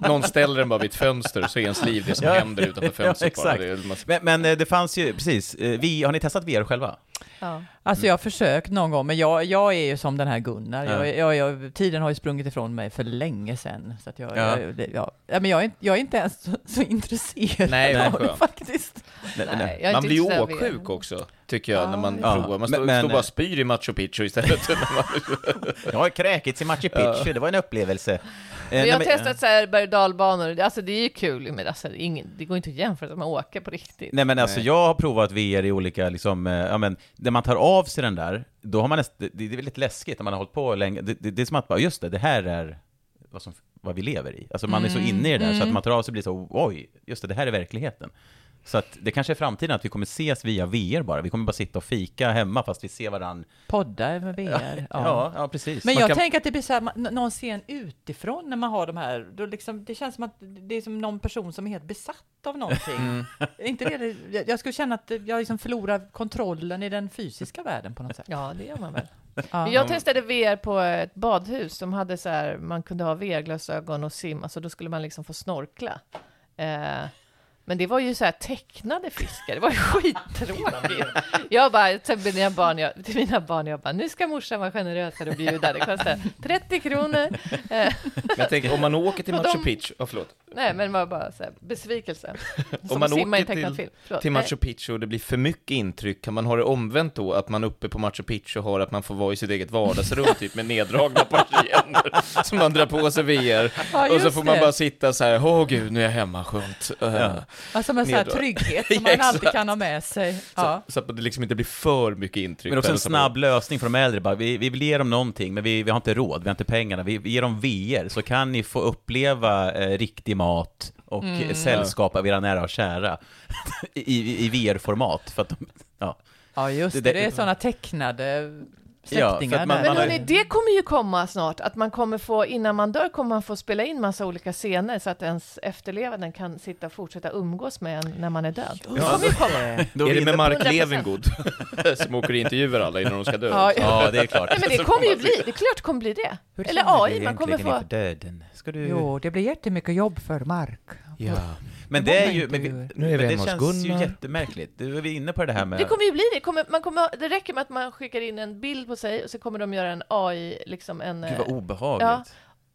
Speaker 2: Någon ställer den bara vid ett fönster så är ens liv det som händer utanför fönstret
Speaker 1: ja,
Speaker 2: bara.
Speaker 1: exakt.
Speaker 2: Det är- man-
Speaker 1: men, men eh, det fanns ju, precis, eh, vi, har ni testat VR själva? Eh,
Speaker 3: Alltså jag har försökt någon gång, men jag, jag är ju som den här Gunnar.
Speaker 1: Ja.
Speaker 3: Jag, jag, jag, tiden har ju sprungit ifrån mig för länge sedan. Så att jag,
Speaker 1: Ja.
Speaker 3: jag, det- jag, ja, men jag, är, inte- jag är inte ens så, så intresserad
Speaker 2: Nej, vad
Speaker 3: av det
Speaker 2: skönt.
Speaker 3: faktiskt.
Speaker 2: man blir ju åksjuk också, tycker jag, när man
Speaker 1: Ja.
Speaker 2: provar. Man
Speaker 1: Men-
Speaker 2: står,
Speaker 1: men-
Speaker 2: står bara och spyr i Machu Picchu istället.
Speaker 1: Jag har kräkits i Machu Picchu,
Speaker 2: Ja.
Speaker 1: det var en upplevelse. Eh,
Speaker 5: Men
Speaker 1: nej,
Speaker 5: jag har
Speaker 1: men- eh,
Speaker 5: testat så här berg och dalbanor, alltså det är ju kul, men alltså, det, är ingen, det går inte att jämföra med att åka på riktigt.
Speaker 1: Nej men alltså jag har provat VR i olika, liksom, eh, ja men, när man tar av sig den där, då har man nästan, det, det är väldigt läskigt när man har hållit på länge, det, det, det är som att bara, just det, det här är vad, som, vad vi lever i. Alltså man är så
Speaker 2: Mm,
Speaker 1: inne i det där, så att
Speaker 2: mm.
Speaker 1: man tar av sig blir så, oj, just det, det här är verkligheten. Så att det kanske är framtiden att vi kommer ses via VR bara, vi kommer bara sitta och fika hemma fast vi ser varandra.
Speaker 3: Poddar med VR.
Speaker 1: Ja, ja, precis.
Speaker 3: Men
Speaker 1: Man
Speaker 3: jag
Speaker 1: kan-
Speaker 3: tänker att det blir så här, man, n- någon scen utifrån när man har de här, då liksom, det känns som att det är som någon person som är helt besatt av någonting.
Speaker 1: Mm.
Speaker 3: Är Inte det, det- jag, jag skulle känna att jag liksom förlorar kontrollen i den fysiska världen på något sätt.
Speaker 5: Ja, det gör man väl.
Speaker 3: Ja.
Speaker 5: Men jag testade VR på ett badhus som hade så här, man kunde ha VR-glasögon och simma, alltså då skulle man liksom få snorkla. Eh, men det var ju så här tecknade fiskar, det var ju skittråkigt. Jag bara, till mina barn, jag, till mina barn, jag bara, nu ska morsan vara generösare och bjuda, det kostar 30 kronor. Eh,
Speaker 2: Men jag tänker, om man åker till
Speaker 5: Och
Speaker 2: Machu
Speaker 5: de-
Speaker 2: Picchu, ja förlåt.
Speaker 5: Nej, men det var bara så här, besvikelse.
Speaker 2: Om
Speaker 5: Som att
Speaker 2: man
Speaker 5: simma i
Speaker 2: åker
Speaker 5: en tecknad
Speaker 2: till,
Speaker 5: film. Förlåt.
Speaker 2: till
Speaker 5: Nej.
Speaker 2: Machu Picchu och det blir för mycket intryck, kan man ha det omvänt då? Att man uppe på Machu Picchu har att man får vara i sitt eget vardagsrum typ med neddragna persienner som man drar på sig VR.
Speaker 3: Ja,
Speaker 2: och så
Speaker 3: just
Speaker 2: får man
Speaker 3: det.
Speaker 2: bara sitta så här, åh gud, nu är jag hemma, skönt. Eh,
Speaker 3: Alltså med sån här
Speaker 2: neddrag-
Speaker 3: trygghet som
Speaker 2: Ja,
Speaker 3: man alltid
Speaker 2: exakt.
Speaker 3: kan ha med sig.
Speaker 2: Så,
Speaker 3: Ja.
Speaker 2: så att det liksom inte blir för mycket intryck.
Speaker 1: Men också en
Speaker 2: Eller så-
Speaker 1: snabb lösning för de äldre, bara, vi, vi vill ge dem någonting, men vi, vi har inte råd, vi har inte pengarna, vi, vi ger dem VR, så kan ni få uppleva eh, riktig mat och
Speaker 3: Mm.
Speaker 1: sällskap av era nära och kära i, i, i VR-format. För att de, ja.
Speaker 3: ja, just det. Det, är sådana tecknade
Speaker 1: Ja, för
Speaker 3: släktingar.
Speaker 1: att man-
Speaker 3: där.
Speaker 1: man
Speaker 5: Men hörni, det kommer ju komma snart, att man kommer få, innan man dör kommer man få spela in massa olika scener så att ens efterlevanden kan sitta och fortsätta umgås med en när man är död. Det kommer ju komma.
Speaker 2: är det med Mark
Speaker 5: 100%.
Speaker 2: Levengood som åker och intervjuar alla innan de ska dö?
Speaker 5: Ja.
Speaker 1: Ja, det är klart.
Speaker 5: Nej, men det kommer ju bli, det är klart det kommer bli det. Eller AI, man kommer få...
Speaker 1: döden? Ska du...
Speaker 3: Jo, det blir jättemycket jobb för Mark.
Speaker 1: Men
Speaker 3: Det
Speaker 1: det är
Speaker 3: var
Speaker 1: ju,
Speaker 3: inte
Speaker 1: men, vi-
Speaker 3: ju- Nu
Speaker 1: men
Speaker 3: är vi
Speaker 1: det
Speaker 3: hemma hos
Speaker 1: känns
Speaker 3: Gunnar.
Speaker 1: ju jättemärkligt. Du är vi inne på det här med...
Speaker 5: Det kommer ju bli det. Kommer, man kommer, det räcker med att man skickar in en bild på sig och så kommer de göra en AI, liksom en...
Speaker 1: Gud, vad
Speaker 5: eh,
Speaker 1: obehagligt.
Speaker 5: Ja,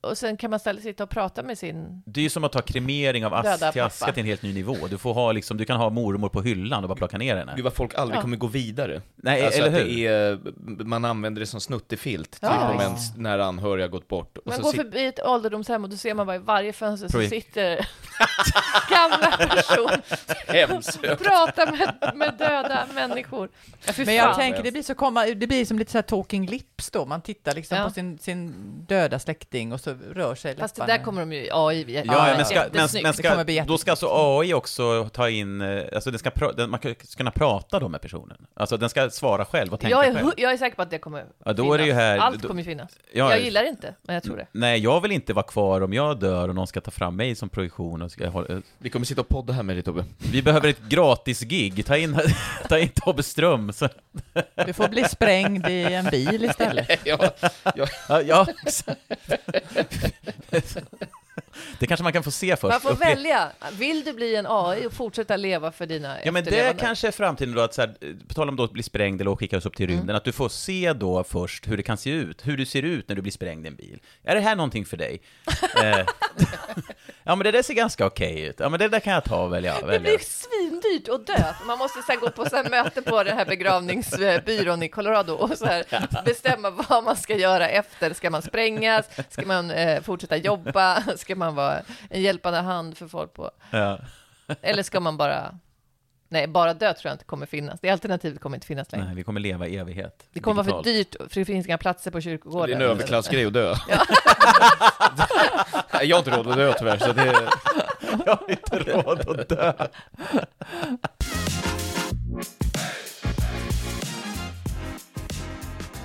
Speaker 5: och sen kan man ställa, sitta och prata med sin...
Speaker 1: Det är ju som att ta kremering av
Speaker 5: Döda
Speaker 1: ask till
Speaker 5: pappa.
Speaker 1: aska till en helt ny nivå. Du, får ha liksom, du kan ha mormor på hyllan och bara plocka ner henne.
Speaker 2: Gud vad folk aldrig
Speaker 5: Ja.
Speaker 2: kommer gå vidare.
Speaker 1: Nej,
Speaker 2: alltså
Speaker 1: eller
Speaker 2: att
Speaker 1: hur?
Speaker 2: Det är, man använder det som snuttefilt, typ
Speaker 5: Ja,
Speaker 2: om
Speaker 5: visst.
Speaker 2: ens nära anhöriga har gått bort. Och
Speaker 5: Man
Speaker 2: så
Speaker 5: går
Speaker 2: sit-
Speaker 5: förbi ett ålderdomshem och då ser man bara i varje fönster så
Speaker 2: Projekt-
Speaker 5: sitter gamla person och
Speaker 2: Hemsökt.
Speaker 5: pratar med, med döda människor. Ja, fy
Speaker 3: Men jag
Speaker 5: fan.
Speaker 3: tänker, det blir, så komma, det blir som lite så här talking lips då. Man tittar liksom
Speaker 5: Ja.
Speaker 3: på sin, sin döda släkting och så rör sig
Speaker 5: Fast det
Speaker 3: läpparna.
Speaker 5: där kommer de ju AI via.
Speaker 1: Ja, men ska, men,
Speaker 5: jättesnyggt.
Speaker 1: men
Speaker 5: Det
Speaker 1: ska,
Speaker 5: kommer bli
Speaker 1: då ska alltså AI också ta in, eh, alltså den ska, pra- den, man ska kunna prata då med personen. Alltså den ska svara själv och tänka
Speaker 5: jag, är,
Speaker 1: själv.
Speaker 5: hu- jag är säker på att det kommer
Speaker 1: Ja, då är det ju här-
Speaker 5: Allt
Speaker 1: då-
Speaker 5: kommer ju finnas.
Speaker 1: Ja,
Speaker 5: jag
Speaker 1: ja.
Speaker 5: gillar det inte, men jag tror det.
Speaker 1: Nej, jag vill inte vara kvar om jag dör och någon ska ta fram mig som projektion och ska hålla...
Speaker 2: Vi kommer sitta och podda här med dig Tobbe.
Speaker 1: Vi behöver ett gratis-gig, ta in, ta in Tobbe Ström. Så.
Speaker 3: Du får bli sprängd i en bil istället.
Speaker 2: ja, ja.
Speaker 1: Ja, ja, exakt. Det kanske man kan få se först.
Speaker 5: Man får
Speaker 1: Och det-
Speaker 5: välja. Vill du bli en AI och fortsätta leva för dina
Speaker 1: Ja men det
Speaker 5: efterlevande?
Speaker 1: kanske är framtiden då, att så här, eh, på tal om då att bli sprängd eller att skickas upp till rymden,
Speaker 5: Mm.
Speaker 1: att du får se då först hur det kan se ut, hur du ser ut när du blir sprängd i en bil. Är det här någonting för dig? eh, ja men det där ser ganska okej ut, ja men det där kan jag ta och välja.
Speaker 5: Det
Speaker 1: välja.
Speaker 5: blir svindyrt att dö. Man måste så här gå på så här möte på den här begravningsbyrån i Colorado och så här bestämma vad man ska göra efter. Ska man sprängas? Ska man eh, fortsätta jobba? Ska man vara en hjälpande hand för folk? På?
Speaker 1: Ja.
Speaker 5: Eller ska man bara... Nej, bara dö tror jag inte kommer finnas. Det alternativet kommer inte finnas längre.
Speaker 1: Nej, vi kommer leva i evighet.
Speaker 5: Det kommer vara för
Speaker 1: Digitalt.
Speaker 5: dyrt, för det finns inga platser på kyrkogården.
Speaker 2: Det är en överklassgrej att dö.
Speaker 5: Ja.
Speaker 2: Nej, jag har inte råd att dö tyvärr, så det...
Speaker 1: Jag har inte råd att dö.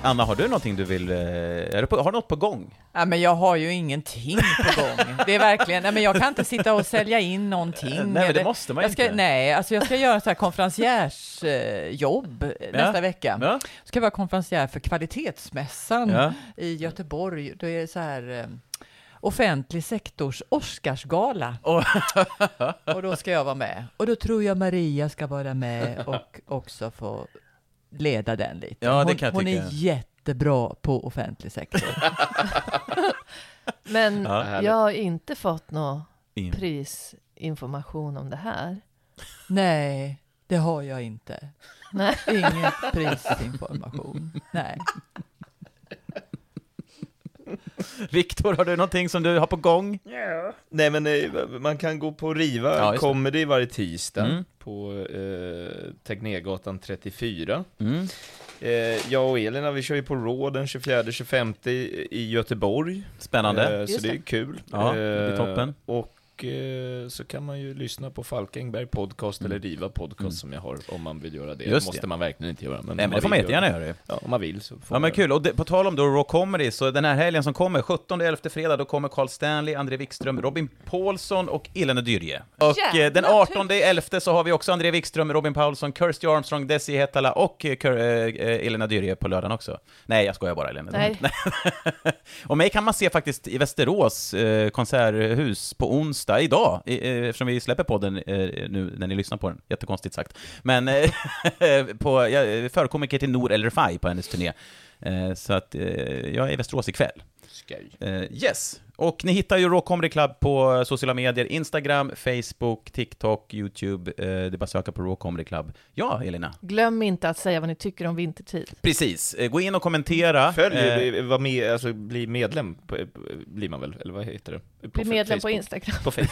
Speaker 1: Anna, har du någonting du vill, eh, är du på, har du något på gång?
Speaker 3: Ja, men jag har ju ingenting på gång. Det är verkligen, nej, men jag kan inte sitta och sälja in någonting.
Speaker 1: Nej, men det måste man
Speaker 3: jag ska,
Speaker 1: inte.
Speaker 3: Nej, alltså jag ska göra så här konferenciersjobb nästa vecka.
Speaker 1: Ja.
Speaker 3: Ska jag vara konferencier för kvalitetsmässan
Speaker 1: Ja.
Speaker 3: i Göteborg. Då är det så här eh, offentlig sektors Oscarsgala. Och då ska jag vara med. Och då tror jag Maria ska vara med och också få leda den lite.
Speaker 1: Ja, det
Speaker 3: hon
Speaker 1: kan jag
Speaker 3: hon
Speaker 1: tycka.
Speaker 3: är jättebra på offentlig sektor.
Speaker 5: Men
Speaker 3: Ja, härligt.
Speaker 5: jag har inte fått någon
Speaker 3: In.
Speaker 5: prisinformation om det här.
Speaker 3: Nej, det har jag inte.
Speaker 5: Nej.
Speaker 3: Ingen prisinformation. Nej.
Speaker 1: Viktor, har du någonting som du har på gång?
Speaker 2: Nej men eh, man kan gå på Riva
Speaker 1: Ja, just det.
Speaker 2: Comedy varje tisdag
Speaker 1: Mm.
Speaker 2: på eh, Tegnérgatan 34.
Speaker 1: Mm.
Speaker 2: Eh, jag och Elin, vi kör ju på Raw den 24-25 i- i Göteborg.
Speaker 1: Spännande.
Speaker 2: Eh, så
Speaker 1: Just
Speaker 2: det är
Speaker 1: det.
Speaker 2: ju kul. Eh,
Speaker 1: Ja, det blir toppen.
Speaker 2: Och eh, så kan man ju lyssna på Falkenberg podcast eller Riva podcast som jag har om man vill göra det.
Speaker 1: Mm. Just
Speaker 2: måste
Speaker 1: det.
Speaker 2: man verkligen inte göra. Men om
Speaker 1: Nej, men det får
Speaker 2: vill
Speaker 1: man jättegärna göra ju.
Speaker 2: Ja, om man vill så får
Speaker 1: Ja
Speaker 2: man
Speaker 1: men kul, och det, på tal om då Raw Comedy, så den här helgen som kommer, 17-11 fredag, då kommer Carl Stanley, André Wikström, Robin Paulsson och Elene Dyrje. Och eh, den 18-11 så har vi också André Wikström, Robin Paulsson, Kirsty Armstrong, Desi Hetala och eh, Kör, eh, eh, Elena Dyrje på lördagen också. Nej, jag skojar bara Elena.
Speaker 5: Nej.
Speaker 1: och mig kan man se faktiskt i Västerås eh, konserthus på onsdag, idag, i, eh, eftersom vi släpper podden eh, nu när ni lyssnar på den. Jättekonstigt sagt. Men eh, på, jag förkomiker till Nour El Refai på hennes turné. Eh, så att eh, jag är i Västerås ikväll.
Speaker 2: Skoj.
Speaker 1: Eh, yes! Och ni hittar ju Raw Comedy Club på sociala medier, Instagram, Facebook, TikTok, YouTube. Eh, det är bara att söka på Raw Comedy Club. Ja, Elina?
Speaker 5: Glöm inte att säga vad ni tycker om vintertid.
Speaker 1: Precis. Eh, Gå in och kommentera.
Speaker 2: Följ,
Speaker 1: Eh,
Speaker 2: eh, var med, alltså bli medlem, på, eh, blir man väl, eller vad heter det?
Speaker 5: Bli
Speaker 2: fe-
Speaker 5: medlem på Instagram.
Speaker 2: På Facebook.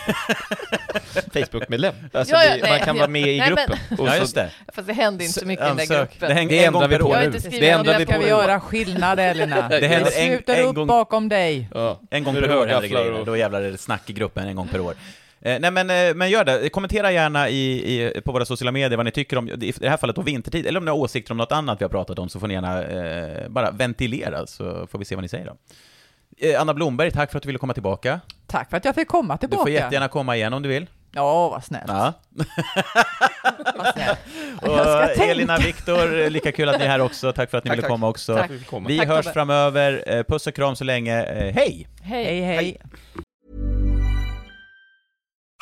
Speaker 2: Facebookmedlem. Alltså,
Speaker 5: Ja, ja,
Speaker 2: bli,
Speaker 5: nej,
Speaker 2: man kan
Speaker 5: ja.
Speaker 2: vara med i
Speaker 5: Nej, men-
Speaker 2: gruppen.
Speaker 1: Ja, just det.
Speaker 5: Fast det händer inte så mycket i den där
Speaker 1: Ansök.
Speaker 5: gruppen.
Speaker 1: Det häng- Det en gång ändrar vi per på år. nu.
Speaker 5: Jag har inte
Speaker 1: Det
Speaker 5: skrivit
Speaker 3: Det
Speaker 5: någon
Speaker 3: enda vi
Speaker 5: läskare
Speaker 3: ska vi
Speaker 5: bok.
Speaker 3: göra skillnad, Elina.
Speaker 1: Det händer
Speaker 3: vi
Speaker 1: en-
Speaker 3: slutar
Speaker 1: en
Speaker 3: upp
Speaker 1: gång-
Speaker 3: bakom dig.
Speaker 1: En gång
Speaker 2: Nu är
Speaker 1: per
Speaker 2: det
Speaker 1: år
Speaker 2: högafflar
Speaker 1: händer grejer.
Speaker 2: och-
Speaker 1: Då jävlar är det snack i gruppen en gång per år. Eh, nej men, eh, men gör det, kommentera gärna i, i, på våra sociala medier vad ni tycker om, i det här fallet då vintertid, eller om ni har åsikter om något annat vi har pratat om så får ni gärna eh, bara ventilera så får vi se vad ni säger då. Eh, Anna Blomberg, tack för att du ville komma tillbaka.
Speaker 3: Tack för att jag fick komma
Speaker 1: Du
Speaker 3: tillbaka.
Speaker 1: får jättegärna komma igen om du vill.
Speaker 3: Ja, vad snällt.
Speaker 1: Ja.
Speaker 3: Jag
Speaker 1: Och
Speaker 3: ska
Speaker 1: Elina,
Speaker 3: tänka.
Speaker 1: Viktor, lika kul att ni är här också. Tack för att ni
Speaker 3: Tack,
Speaker 1: ville
Speaker 3: tack.
Speaker 1: komma också.
Speaker 3: Tack för att vi fick komma.
Speaker 1: Vi
Speaker 3: Tack,
Speaker 1: hörs
Speaker 3: Tobbe.
Speaker 1: framöver. Eh, Puss och kram så länge. Eh, Hej!
Speaker 5: Hej,
Speaker 3: hej.